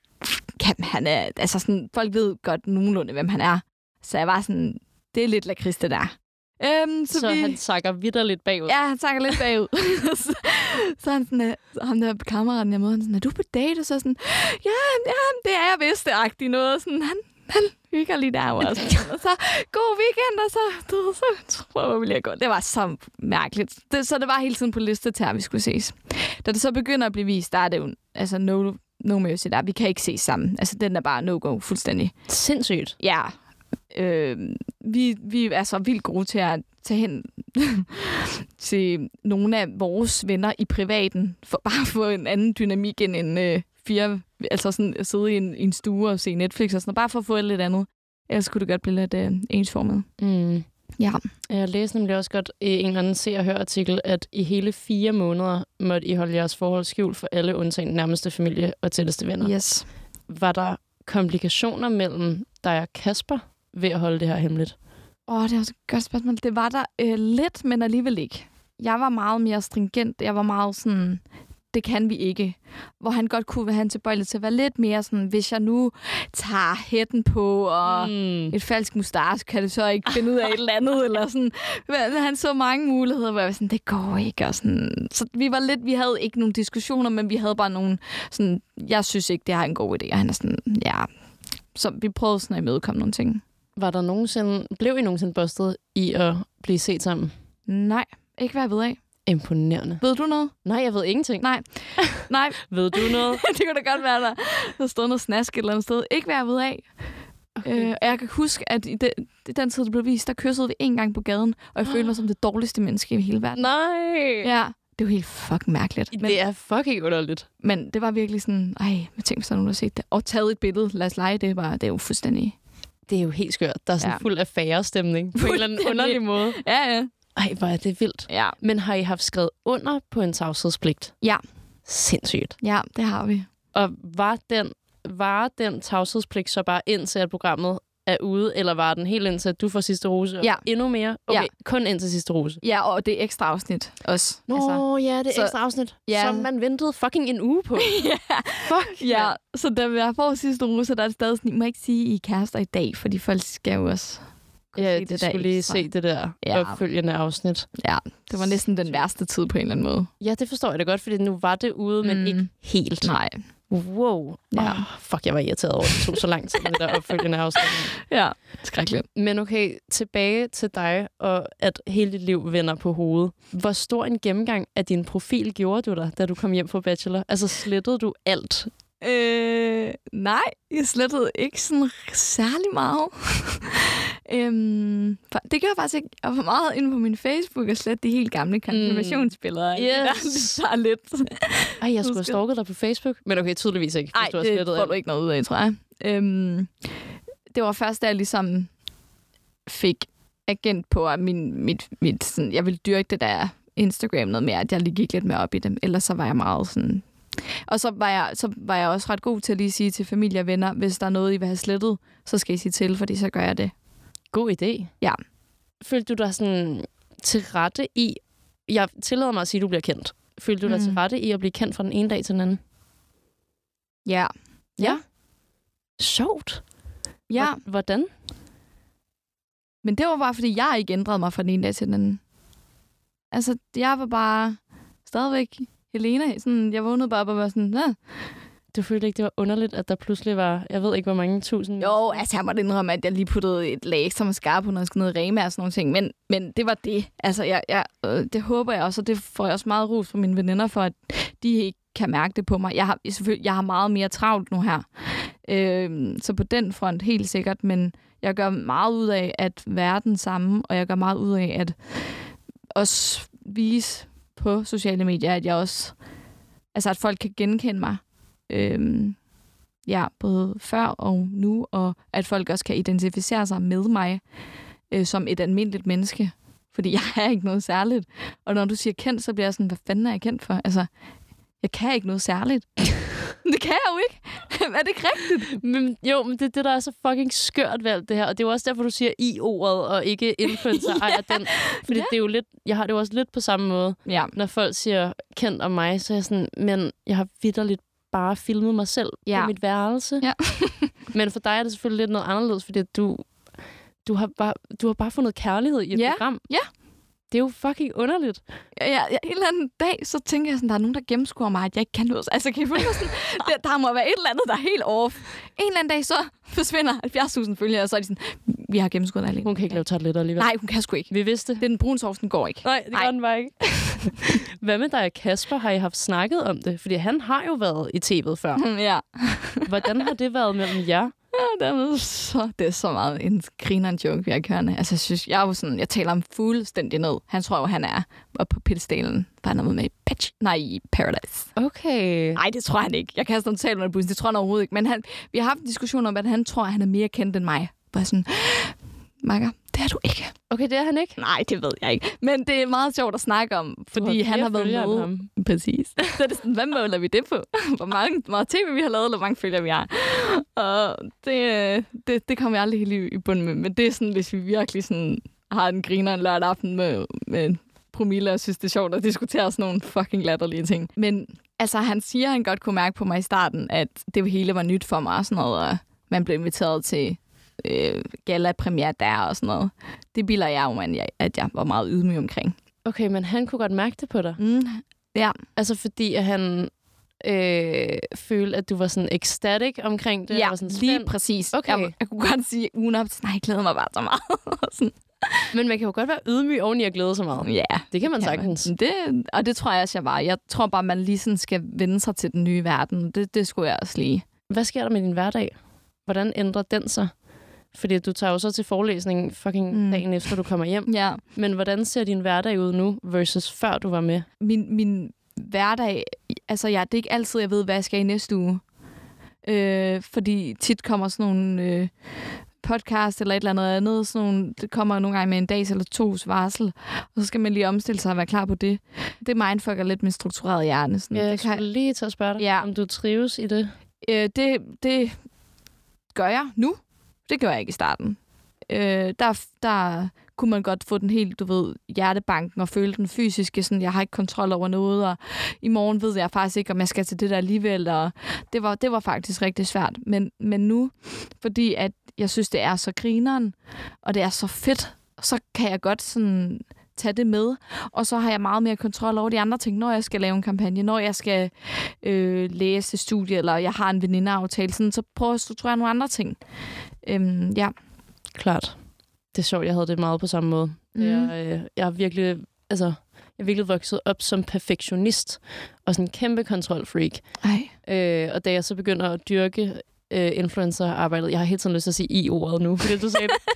kan, han er, altså sådan, folk ved godt nogenlunde, hvem han er. Så jeg var sådan, det er lidt lakrids, det der. Øhm,
så så vi... han sakker vidderligt bagud.
Ja, han sakker lidt bagud. [laughs] så, så han sådan, øh, så ham der kammeraten, jeg møder, han sådan, er du på date? Og så sådan, ja, ja det er jeg vist, det agtigt noget. Og sådan, han, han hygger lige derovre. Og, sådan, og så, god weekend, og så, du, ved, så tror jeg, jeg godt. Det var så mærkeligt. Det, så det var hele tiden på liste til, at vi skulle ses. Da det så begynder at blive vist, der er det jo, altså no, no mercy der. Vi kan ikke ses sammen. Altså, den er bare no-go fuldstændig.
Sindssygt.
Ja, øh, vi, vi er så vildt gode til at tage hen [laughs] til nogle af vores venner i privaten, for bare at få en anden dynamik end en øh, fire, altså sådan at sidde i en, i en stue og se Netflix og sådan noget, bare for at få et lidt andet. Ellers kunne det godt blive lidt øh, ensformet.
Mm.
Ja.
Jeg læste nemlig også godt i en eller anden se- og hør-artikel, at i hele fire måneder måtte I holde jeres forhold skjult for alle undtagen nærmeste familie og tætteste venner.
Yes.
Var der komplikationer mellem dig og Kasper ved at holde det her hemmeligt?
Åh, oh, det er også et godt spørgsmål. Det var der øh, lidt, men alligevel ikke. Jeg var meget mere stringent. Jeg var meget sådan, det kan vi ikke. Hvor han godt kunne have en tilbøjelighed til at være lidt mere sådan, hvis jeg nu tager hætten på og mm. et falsk mustache, kan det så ikke finde ud af et eller andet. Eller sådan. Men Han så mange muligheder, hvor jeg var sådan, det går ikke. Og sådan. Så vi var lidt, vi havde ikke nogen diskussioner, men vi havde bare nogle sådan, jeg synes ikke, det er en god idé. Og han er sådan, ja. Så vi prøvede sådan at imødekomme nogle ting.
Var der nogensinde, blev I nogensinde bustet i at blive set sammen?
Nej, ikke hvad jeg ved af.
Imponerende.
Ved du noget?
Nej, jeg ved ingenting.
Nej. [laughs] Nej.
Ved du noget?
det kunne da godt være, der havde stået noget snask et eller andet sted. Ikke hvad jeg ved af. Okay. Øh, og jeg kan huske, at i den, i den tid, det blev vist, der kyssede vi en gang på gaden, og jeg [gasps] følte mig som det dårligste menneske i hele verden.
[laughs] Nej.
Ja, det var helt fucking mærkeligt.
Men, det er fucking underligt.
Men det var virkelig sådan, ej, jeg tænkte, hvis der er nogen, der har set det. Og taget et billede, lad os lege det, var, det er jo fuldstændig...
Det er jo helt skørt. Der er sådan
Ja.
ja. fuld affærestemning på en eller anden underlig måde.
Ja, ja.
Ej, hvor er det vildt.
Ja,
Men har I haft skrevet under på en tavshedspligt?
Ja.
Sindssygt.
ja det har vi.
Og var den, var den tavshedspligt så bare indtil, at programmet er ude, eller var den helt indtil, at du får sidste rose? og
Ja.
Endnu mere? Okay,
Ja.
kun indtil sidste rose.
Ja, og det er ekstra afsnit også.
Nå, altså, ja, det er
så-
ekstra afsnit,
ja.
som man ventede fucking en uge [laughs] på. Fuck.
Ja, så da jeg får sidste rose, der er det stadig sådan, I må ikke sige, I er kærester i dag, fordi folk skal jo også kunne
Ja,
se
det
der
skulle lige
ekstra.
se det der
Ja.
ja. opfølgende afsnit.
Ja, det var næsten den værste tid på en eller anden måde.
Ja, det forstår jeg da godt, fordi nu var det ude, men
Mm.
mm. ikke helt.
Nej.
Wow.
Ja.
Ja. Oh, fuck, jeg var irriteret over, at det tog så lang tid med det der [laughs] opfølgende afsnit.
Ja, skrækkeligt.
Men okay, tilbage til dig, og at hele dit liv vender på hovedet. Hvor stor en gennemgang af din profil gjorde du dig, da du kom hjem fra Bachelor? Altså, slettede du alt?
Øh, nej, jeg slettede ikke sådan særlig meget. [laughs] øhm, for- det gjorde jeg faktisk ikke. Jeg var meget inde på min Facebook og slet de helt gamle konfirmationsbilleder.
Yes.
Der [laughs] er lidt.
Ej, jeg skulle have
Husker.
stalket dig på Facebook. Men okay, tydeligvis ikke, hvis
Nej,
du har
det
slettet
får du
alt.
ikke noget ud af, tror jeg. Øhm, det var først, da jeg ligesom fik agent på, at min, mit, mit, sådan, jeg ville dyrke det der Instagram noget mere, at jeg lige gik lidt mere op i dem. Ellers så var jeg meget sådan... Og så var, jeg, så var jeg også ret god til at lige sige til familie og venner, hvis der er noget, I vil have slettet, så skal I sige til, fordi så gør jeg det.
God idé.
Ja.
Følte du dig sådan til rette i... Jeg tillader mig at sige, at du bliver kendt. Følte du dig
Mm.
til rette i at blive kendt fra den ene dag til den anden?
Ja. Ja.
Sjovt.
Ja,
Hvor- Hvordan?
men det var bare, fordi jeg ikke ændrede mig fra den ene dag til den anden. Altså, jeg var bare stadigvæk Helena. Sådan, jeg vågnede bare op og var sådan, "Nå,
Du følte ikke, det var underligt, at der pludselig var, jeg ved ikke, hvor mange tusind...
Jo, altså jeg måtte indrømme, at jeg lige puttede et lag ekstra mascara på, når jeg skulle ned i Rema og sådan nogle ting. Men, men det var det. Altså, jeg, jeg, øh, det håber jeg også, og det får jeg også meget ros fra mine veninder for, at de ikke kan mærke det på mig. Jeg har, selvfølgelig, jeg har meget mere travlt nu her. Øh, så på den front helt sikkert, men jeg gør meget ud af at være den samme, og jeg gør meget ud af at også vise på sociale medier, at jeg også, altså at folk kan genkende mig. Øh, ja, både før og nu, og at folk også kan identificere sig med mig øh, som et almindeligt menneske. Fordi jeg er ikke noget særligt. Og når du siger kendt, så bliver jeg sådan, hvad fanden er jeg kendt for? Altså, jeg kan ikke noget særligt. [laughs] det kan jeg jo ikke. [laughs] er det ikke rigtigt?
Men, jo, men det er det, der er så fucking skørt ved alt det her. Og det er jo også derfor, du siger i-ordet og
[laughs]
ikke influencer ejer den. Fordi
Ja.
det er jo lidt, jeg har det jo også lidt på samme måde.
Ja.
Når folk siger kendt om mig, så er jeg sådan, men jeg har vidderligt bare filmet mig selv
Ja.
på mit værelse. [laughs]
Ja.
men for dig er det selvfølgelig lidt noget anderledes, fordi du, Du har bare, du har bare fundet kærlighed i et
Ja,
program.
ja.
Det er jo fucking underligt.
Ja, ja, ja, en eller anden dag, så tænker jeg sådan, der er nogen, der gennemskuer mig, at jeg ikke kan noget. Altså, kan I følge mig
[laughs]
sådan, der, der må være et eller andet, der er helt off. En eller anden dag, så forsvinder 70.000 følgere, og så er de sådan, vi har gennemskuet dig alene.
Hun kan ikke lave tarteletter alligevel.
Nej, hun kan sgu ikke.
Vi vidste.
Det er den brune sovs, den går ikke.
Nej, det
Nej.
gør den bare ikke. [laughs] Hvad med dig og Kasper? Har I haft snakket om det? Fordi han har jo været i tv'et [laughs] før.
[laughs] ja.
Hvordan har det været mellem jer?
ja dermed, så det er så meget en grineren joke, vi har kørende. Altså, jeg synes, jeg er jo sådan, jeg taler om fuldstændig ned. Han tror jo, han er oppe på pilstalen. Bare noget med patch. Nej, i Paradise.
Okay.
Nej, det tror han ikke. Jeg kaster ham totalt under bussen. Det tror han overhovedet ikke. Men han, vi har haft en diskussion om, at han tror, at han er mere kendt end mig. Bare sådan, Makker, det er du ikke.
Okay, det er han ikke.
Nej, det ved jeg ikke. Men det er meget sjovt at snakke om, fordi
har
han
flere
har været
følgere end
med.
ham.
[laughs] Præcis. Så er det sådan, hvad måler vi det på? [laughs] Hvor mange, hvor meget tv vi har lavet, eller hvor mange følgere vi har. Og det, øh, det, det kommer jeg aldrig helt i, i bunden med. Men det er sådan, hvis vi virkelig sådan, har en griner en lørdag aften med, med en promille, og synes, det er sjovt at diskutere sådan nogle fucking latterlige ting. Men altså, han siger, han godt kunne mærke på mig i starten, at det hele var nyt for mig og sådan noget, og man blev inviteret til øh, gala-premiere der og sådan noget. Det bilder jeg jo, man, jeg, at jeg var meget ydmyg omkring.
Okay, men han kunne godt mærke det på dig.
Mm.
Altså fordi at han øh, følte, at du var sådan ecstatic omkring det.
ja,
og var sådan
lige
spændt.
præcis.
Okay.
Jeg, jeg kunne godt sige ugen op, nej, jeg glæder mig bare så
[laughs]
meget. sådan,
Men man kan jo godt være ydmyg oven i at glæde sig meget.
ja,
Det kan man
kan man.
sagtens.
det, og det tror jeg også, jeg var. Jeg tror bare, man lige sådan skal vende sig til den nye verden. Det, det skulle jeg også lige.
Hvad sker der med din hverdag? Hvordan ændrer den sig? Fordi du tager jo så til forelæsningen fucking
Mm.
mm. dagen efter, du kommer hjem.
Ja.
Men hvordan ser din hverdag ud nu, versus før du var med?
Min, min hverdag, altså ja, det er ikke altid, jeg ved, hvad jeg skal i næste uge. Øh, fordi tit kommer sådan nogle øh, podcast eller et eller andet andet. Sådan nogle, det kommer nogle gange med en dags eller tos varsel. Og så skal man lige omstille sig og være klar på det. Det mindfucker lidt min strukturerede hjerne. Sådan,
Jeg
det Øh, kan-
skulle lige til at spørge dig,
Ja.
om du trives i det.
Øh, det, det gør jeg nu. Det gør jeg ikke i starten. Øh, der, der kunne man godt få den helt, du ved, hjertebanken og føle den fysiske, sådan, jeg har ikke kontrol over noget, og i morgen ved jeg faktisk ikke, om jeg skal til det der alligevel, og det var, det var faktisk rigtig svært. Men, men nu, fordi at jeg synes, det er så grineren, og det er så fedt, så kan jeg godt sådan tage det med, og så har jeg meget mere kontrol over de andre ting, når jeg skal lave en kampagne, når jeg skal øh, læse studie, eller jeg har en venindeaftale, sådan, så prøver jeg at strukturere nogle andre ting. Øhm, ja.
Klart. Det er sjovt, jeg havde det meget på samme måde. Mm.
Mhm.
Jeg, øh, jeg har virkelig, altså, jeg er virkelig vokset op som perfektionist og sådan en kæmpe kontrolfreak.
Ej.
Øh, og da jeg så begynder at dyrke øh, influencer-arbejdet, jeg har helt sådan lyst til at sige i-ordet nu, fordi du sagde det,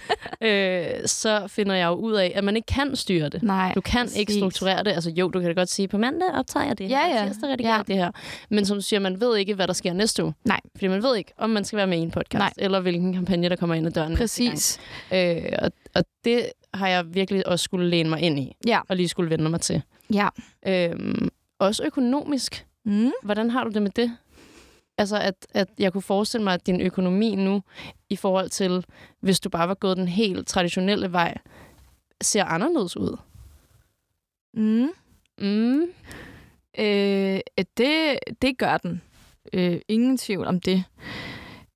øh, så finder jeg jo ud af, at man ikke kan styre det.
Nej.
Du kan ikke
præcis.
strukturere det. Altså jo, du kan da godt sige, på mandag optager jeg det her,
Ja, ja.
og tirsdag redigerer
Ja.
jeg det her. Men som du siger, man ved ikke, hvad der sker næste uge.
Nej.
Fordi man ved ikke, om man skal være med i en podcast,
Nej.
eller hvilken kampagne, der kommer ind ad døren næste gang.
Præcis.
Øh, og, og det har jeg virkelig også skulle læne mig ind i,
Ja.
og lige skulle vende mig til.
Ja.
Øhm, også økonomisk.
Mm.
Hvordan har du det med det? Altså, at, at jeg kunne forestille mig, at din økonomi nu, i forhold til, hvis du bare var gået den helt traditionelle vej, ser anderledes ud.
Mm.
Mm.
Øh, det, det gør den. Øh, ingen tvivl om det.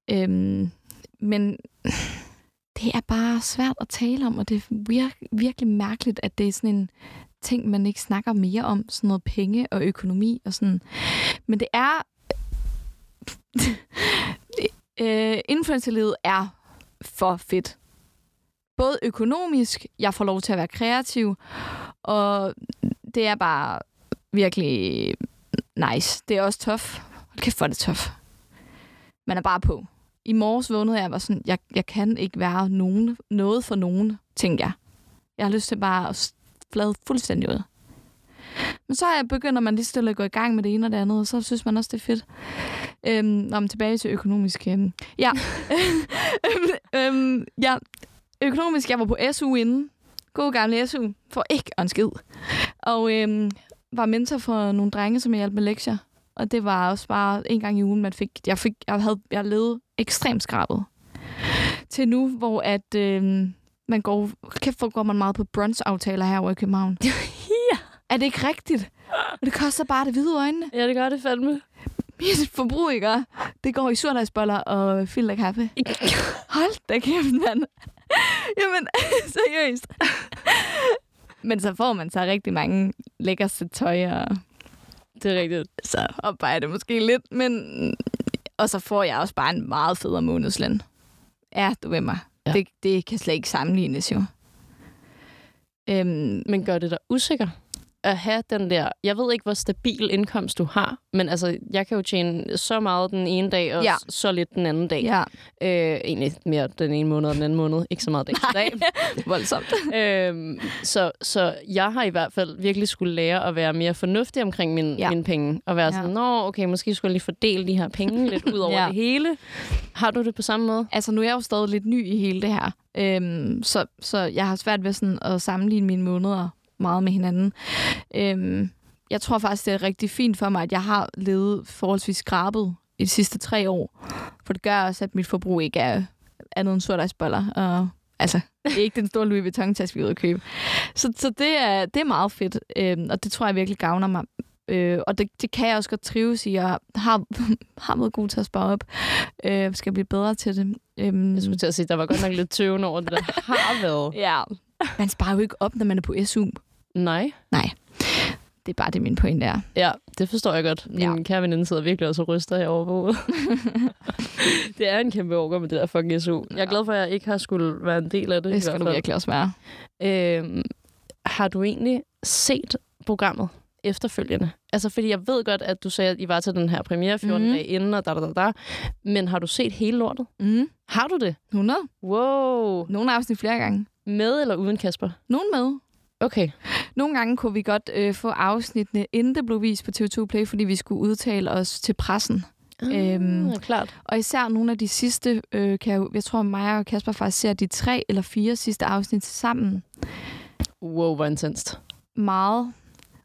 Øhm, men [sighs] det er bare svært at tale om, og det er vir- virkelig mærkeligt, at det er sådan en ting, man ikke snakker mere om, sådan noget penge og økonomi og sådan. Men det er... [laughs] øh, influencerlivet er for fedt. Både økonomisk, jeg får lov til at være kreativ, og det er bare virkelig nice. Det er også tof. Hold kæft, hvor er det tof. Man er bare på. I morges vågnede jeg og var sådan, jeg, jeg kan ikke være nogen, noget for nogen, tænker jeg. Jeg har lyst til bare at s- flade fuldstændig ud. Men så er jeg- begynder man lige så stille at gå i gang med det ene og det andet, og så synes man også, det er fedt. Øhm, om tilbage til økonomisk. Øhm, ja. [laughs] øhm, øhm, ja. Økonomisk, jeg var på SU inden. God gamle SU. For ikke en skid. Og øhm, var mentor for nogle drenge, som jeg hjalp med lektier. Og det var også bare en gang i ugen, man fik... Jeg, fik, jeg havde jeg levede ekstremt skrabet. Til nu, hvor at... Øh, man går... Kæft, hvor går man meget på brunch-aftaler herovre i København. ja. Er det ikke rigtigt? Og det koster bare det hvide øjnene. [laughs]
Ja, det gør det fandme.
Mit forbrug, ikke? Og Det går i surdejsboller og filterkaffe. Hold da kæft, mand. [laughs] Jamen, [laughs] seriøst. Men så får man så rigtig mange lækkerste tøj, og
det er rigtigt.
så opvejer det måske lidt, men... Og så får jeg også bare en meget federe månedsløn. Ja, du ved mig.
Ja.
Ja. Det, det kan slet ikke sammenlignes jo. Øhm,
Men gør det dig usikker at have den der... Jeg ved ikke, hvor stabil indkomst du har, men altså, jeg kan jo tjene så meget den ene dag, og
Ja.
ja. så lidt den anden dag.
ja,
Øh, egentlig mere den ene måned og den anden måned. Ikke så meget dag til dag. [laughs]
voldsomt.
øhm, så, så jeg har i hvert fald virkelig skulle lære at være mere fornuftig omkring min, ja.
Ja.
mine penge. Og være
Ja.
sådan, nå, okay, måske skulle jeg lige fordele de her penge lidt ud over [laughs] ja.
Ja.
det hele. Har du det på samme måde?
[laughs] Altså, nu er jeg jo stadig lidt ny i hele det her. Øhm, så, så jeg har svært ved sådan at sammenligne mine måneder meget med hinanden. Øhm, jeg tror faktisk, det er rigtig fint for mig, at jeg har levet forholdsvis skrabet i de sidste tre år. For det gør også, at mit forbrug ikke er andet end surdejsboller. Og, altså, det er ikke den store Louis Vuitton-taske, vi er ude at købe. Så, så det, er, det er meget fedt, øhm, og det tror jeg virkelig gavner mig. Øh, og det, det kan jeg også godt trives i, og har, [laughs] har været god til at spare op. Øh, skal blive bedre til det. Øhm,
Jeg skulle til at sige, der var godt nok lidt tøven over det, der har [laughs] været.
Ja. Man sparer jo ikke op, når man er på SU.
Nej.
Det er bare det, min pointe er.
Ja, det forstår jeg godt. Min ja.
Ja.
kære veninde sidder virkelig også og ryster herovre på [laughs] hovedet. det er en kæmpe overgå med det der fucking SU. Jeg er glad for, at jeg ikke har skulle være en del af det.
Det skal du virkelig også være.
Øhm, har du egentlig set programmet efterfølgende? Altså, fordi jeg ved godt, at du sagde, at I var til den her premiere 14 mm.
Mhm.
dage inden, og da, da, da, da. Men har du set hele lortet?
Mm.
Har du det?
100.
Wow.
Nogle afsnit flere gange.
Med eller uden Kasper?
Nogle med.
Okay.
Nogle gange kunne vi godt øh, få afsnittene, inden det blev vist på TV2 Play, fordi vi skulle udtale os til pressen. Øhm,
Ah, klart.
Og især nogle af de sidste, øh, kan jeg, jo- jeg tror, mig og Kasper faktisk ser de tre eller fire sidste afsnit sammen
Wow, hvor intenst.
meget.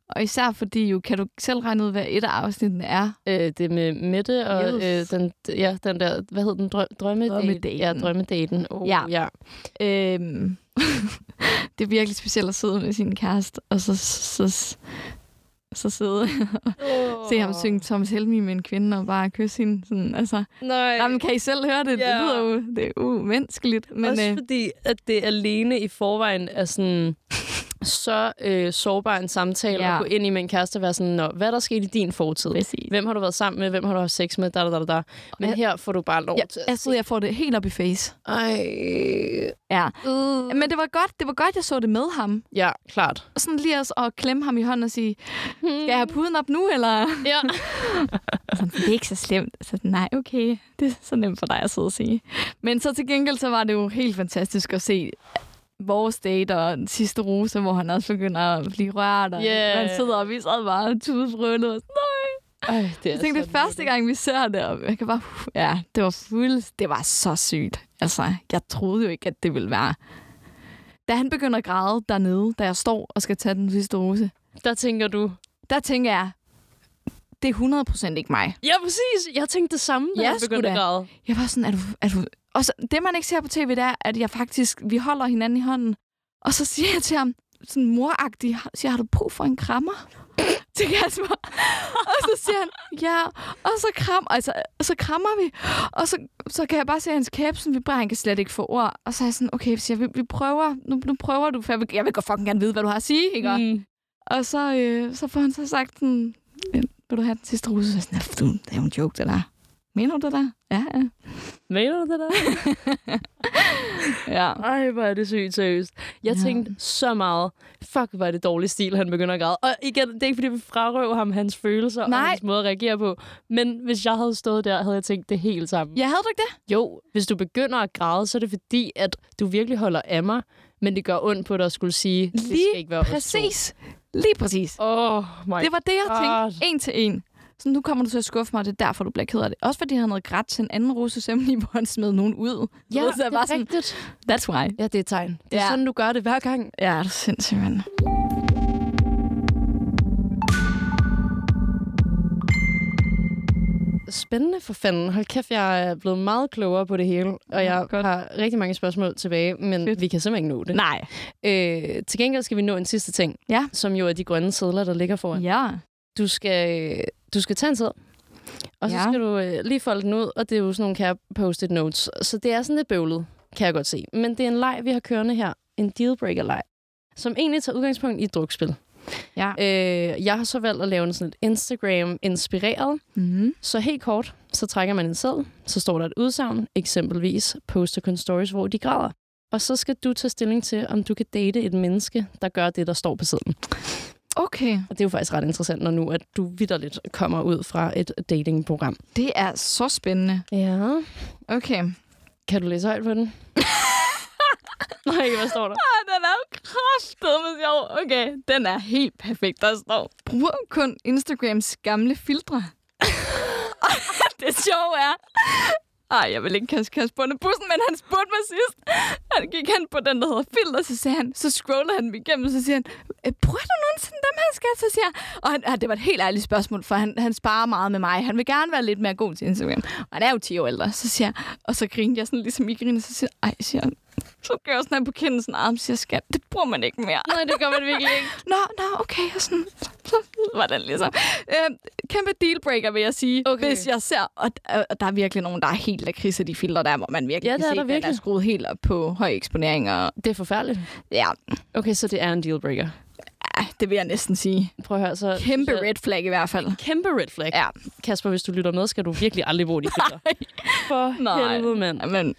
Og især fordi jo, kan du selv regne ud, hvad et af afsnittene er?
Øh, det med Mette og
Yes.
øh, den, ja, den der, hvad hed den, drø- drømmedaten?
Drømmedaten.
Ja, drømmedaten. Oh, ja.
Ja.
ja.
Øhm, [laughs] det er virkelig specielt at sidde med sin kæreste, og så, så, så, så sidde og se ham synge Thomas Helmi med en kvinde, og bare kysse hende. Sådan, altså,
Nej,
jamen, kan I selv høre det?
Ja.
Det lyder jo det er umenneskeligt. Men,
men, også
øh,
fordi, at det alene i forvejen er
[laughs]
sådan så øh, sårbar en samtale ja.
Ja.
at gå ind i med en kæreste og være sådan, Nå, hvad er der sket i din fortid?
præcis.
Hvem har du været sammen med? Hvem har du haft sex med? Da, da, da, da. Men
Jeg-
her får du bare lov
Ja,
til
Astrid, jeg får det helt op i face.
Ej.
Ja.
Mm.
Men det var godt, det var godt jeg så det med ham.
Ja, klart.
Og sådan lige også at klemme ham i hånden og sige, skal jeg have puden op nu, eller?
Ja.
Sådan, det er ikke så slemt. Så sådan, nej, okay, det er så nemt for dig at sidde og sige. Men så til gengæld, så var det jo helt fantastisk at se vores date og den sidste rose, hvor han også begynder at blive rørt, og
Yeah.
man sidder og vi sad bare og tudbrønede og sådan, nej.
Ej, det er
Jeg tænkte, det er
sådan
første gang, vi ser det, og jeg kan bare, "Huh." ja, det var fuldt, det var så sygt. Altså, jeg troede jo ikke, at det ville være. Da han begynder at græde dernede, da jeg står og skal tage den sidste rose,
Der tænker du,
der tænker jeg, det er 100% ikke mig.
ja præcis, jeg tænkte det samme, da
Ja,
jeg begyndte
sgu
at
da.
græde.
Jeg var sådan, er du, er du... Og så, det, man ikke ser på tv, det er, at jeg faktisk... Vi holder hinanden i hånden. Og så siger jeg til ham, sådan moragtig, siger, har du brug for en krammer? [laughs] til Kasper. Og så siger han, ja. Og så, kram, altså, og så krammer vi. Og så, så kan jeg bare se, at hans kæbe sådan vibrerer. Han kan slet ikke få ord. Og så er jeg sådan, okay, siger, jeg, vi, vi prøver. Nu, nu prøver du, for jeg vil, jeg vil godt fucking gerne vide, hvad du har at sige. Ikke? Mm.
Mm.
Og så, øh, så får han så sagt sådan, "Øh, vil du have den sidste ruse? Så er jeg sådan, "Ja, for du, det er jo en joke, det der. Mener du det der? Ja, ja.
Mener du det der?
ja.
[laughs] Ej, hvor er det sygt seriøst. Jeg ja.
Ja.
tænkte så meget, fuck, hvor er det dårlig stil, han begynder at græde. Og igen, det er ikke, fordi vi frarøver ham hans følelser og
Nej.
hans måde at reagere på. Men hvis jeg havde stået der, havde jeg tænkt det helt sammen.
Ja, havde du ikke det?
Jo, hvis du begynder at græde, så er det fordi, at du virkelig holder af mig, men det gør ondt på dig at skulle sige, det
Lige
skal ikke være os to."
Præcis. Lige præcis.
Åh, oh my
Det var det, jeg
God.
tænkte. En til en. Så nu kommer du til at skuffe mig, og det er derfor, du bliver ked af det. Også fordi han havde grædt til en anden rose i, [laughs] hvor han smed nogen ud.
Ja,
så
det
jeg
er
var sådan,
rigtigt.
that's why.
Ja, det er et tegn. Det er ja.
Ja.
sådan, du gør det hver gang.
Ja, det er sindssygt, mand.
Spændende for fanden. Hold kæft, jeg er blevet meget klogere på det hele, og jeg Godt. har rigtig mange spørgsmål tilbage, men Fedt. vi kan simpelthen ikke nå det.
Nej.
Øh, til gengæld skal vi nå en sidste ting,
Ja.
som jo er de grønne sædler, der ligger foran. Ja.
Ja.
Du, skal, du skal tage en sæd, og så
Ja.
skal du øh, lige folde den ud, og det er jo sådan nogle kære post-it notes. Så det er sådan lidt bøvlet. kan jeg godt se. Men det er en leg, vi har kørende her. En dealbreaker-leg, som egentlig tager udgangspunkt i et drukspil.
Ja.
Øh, jeg har så valgt at lave en sådan et Instagram-inspireret.
Mm.
Så helt kort, så trækker man en seddel, så står der et udsagn, eksempelvis poster kun stories, hvor de græder. Og så skal du tage stilling til, om du kan date et menneske, der gør det, der står på sedlen.
Okay.
Og det er jo faktisk ret interessant, når nu at du vidderligt kommer ud fra et datingprogram.
Det er så spændende.
Ja.
Okay.
Kan du læse højt på den? [laughs] Nej, hvad står der?
Ah, den er jo kraftedeme sjov. Okay, den er helt perfekt, der står. Bruger kun Instagrams gamle filtre. [laughs] det sjove er... Ej, jeg vil ikke kaste Kasper under bussen, men han spurgte mig sidst. Han gik hen på den, der hedder filter, så sagde han, så scroller han dem igennem, så siger han, "Øh, bruger du nogensinde dem her, skat? Så siger jeg, og han, ah, det var et helt ærligt spørgsmål, for han, han sparer meget med mig. Han vil gerne være lidt mere god til Instagram. Og han er jo 10 år ældre, så siger jeg, og så griner jeg sådan, ligesom I griner, så siger jeg, ej, siger han, så gør jeg sådan her på kinden, sådan arm, siger skat, det bruger man ikke mere.
Nej, det gør man virkelig ikke.
Nå, nå, okay, og sådan, så var den ligesom. Øh, kæmpe dealbreaker, vil jeg sige, okay. hvis jeg ser, og, øh, og, og, der er virkelig nogen, der er helt lakrids af de filter der, hvor man virkelig
Ja,
kan
det er
se,
der
den
virkelig.
er skruet helt op på høj eksponering, og
Det er forfærdeligt.
ja,
Okay, så det er en dealbreaker.
ah, det vil jeg næsten sige.
Prøv at høre, så...
Kæmpe
så,
red flag i hvert fald.
Kæmpe red flag.
Ja.
Kasper, hvis du lytter med, skal du virkelig aldrig [laughs] bruge de filter. For
Nej.
helvede, mand.
Men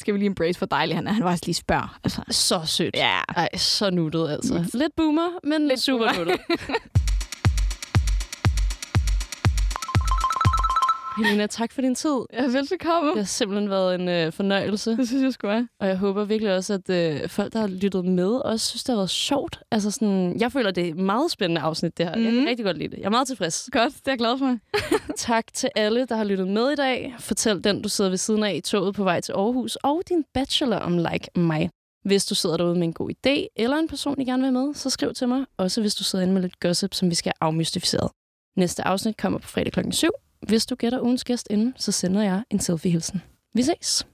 skal vi lige embrace, hvor dejlig han er. Han var også lige spørger. Altså.
Så sødt.
Ja.
Ej, så nuttet altså. Lidt boomer, men Lidt super
boomer. [laughs]
nuttet. Helena, tak for din tid.
Ja, velbekomme.
Det har simpelthen været en øh, fornøjelse,
Det synes jeg sgu er.
og jeg håber virkelig også, at øh, folk, der har lyttet med, også synes, det har været sjovt. Altså sådan, jeg føler, det er et meget spændende afsnit, det her. Mm. Jeg kan
Mhm.
rigtig godt lide det. Jeg er meget tilfreds.
Godt, det er jeg glad for.
[laughs] Tak til alle, der har lyttet med i dag. Fortæl den, du sidder ved siden af i toget på vej til Aarhus, og din bachelor om Like mig. Hvis du sidder derude med en god idé, eller en person, I gerne vil have med, så skriv til mig. Også hvis du sidder inde med lidt gossip, som vi skal have afmystificeret. Næste afsnit kommer på fredag klokken 7. Hvis du gætter ugens gæst inden, så sender jeg en selfie-hilsen. Vi ses!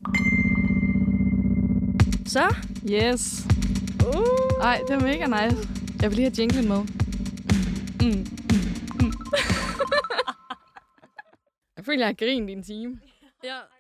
Så,
Yes. Uh. Ej, det er mega nice. Jeg vil lige have jinglen med. Mm. [laughs] Jeg føler, jeg har grint i en time.
ja.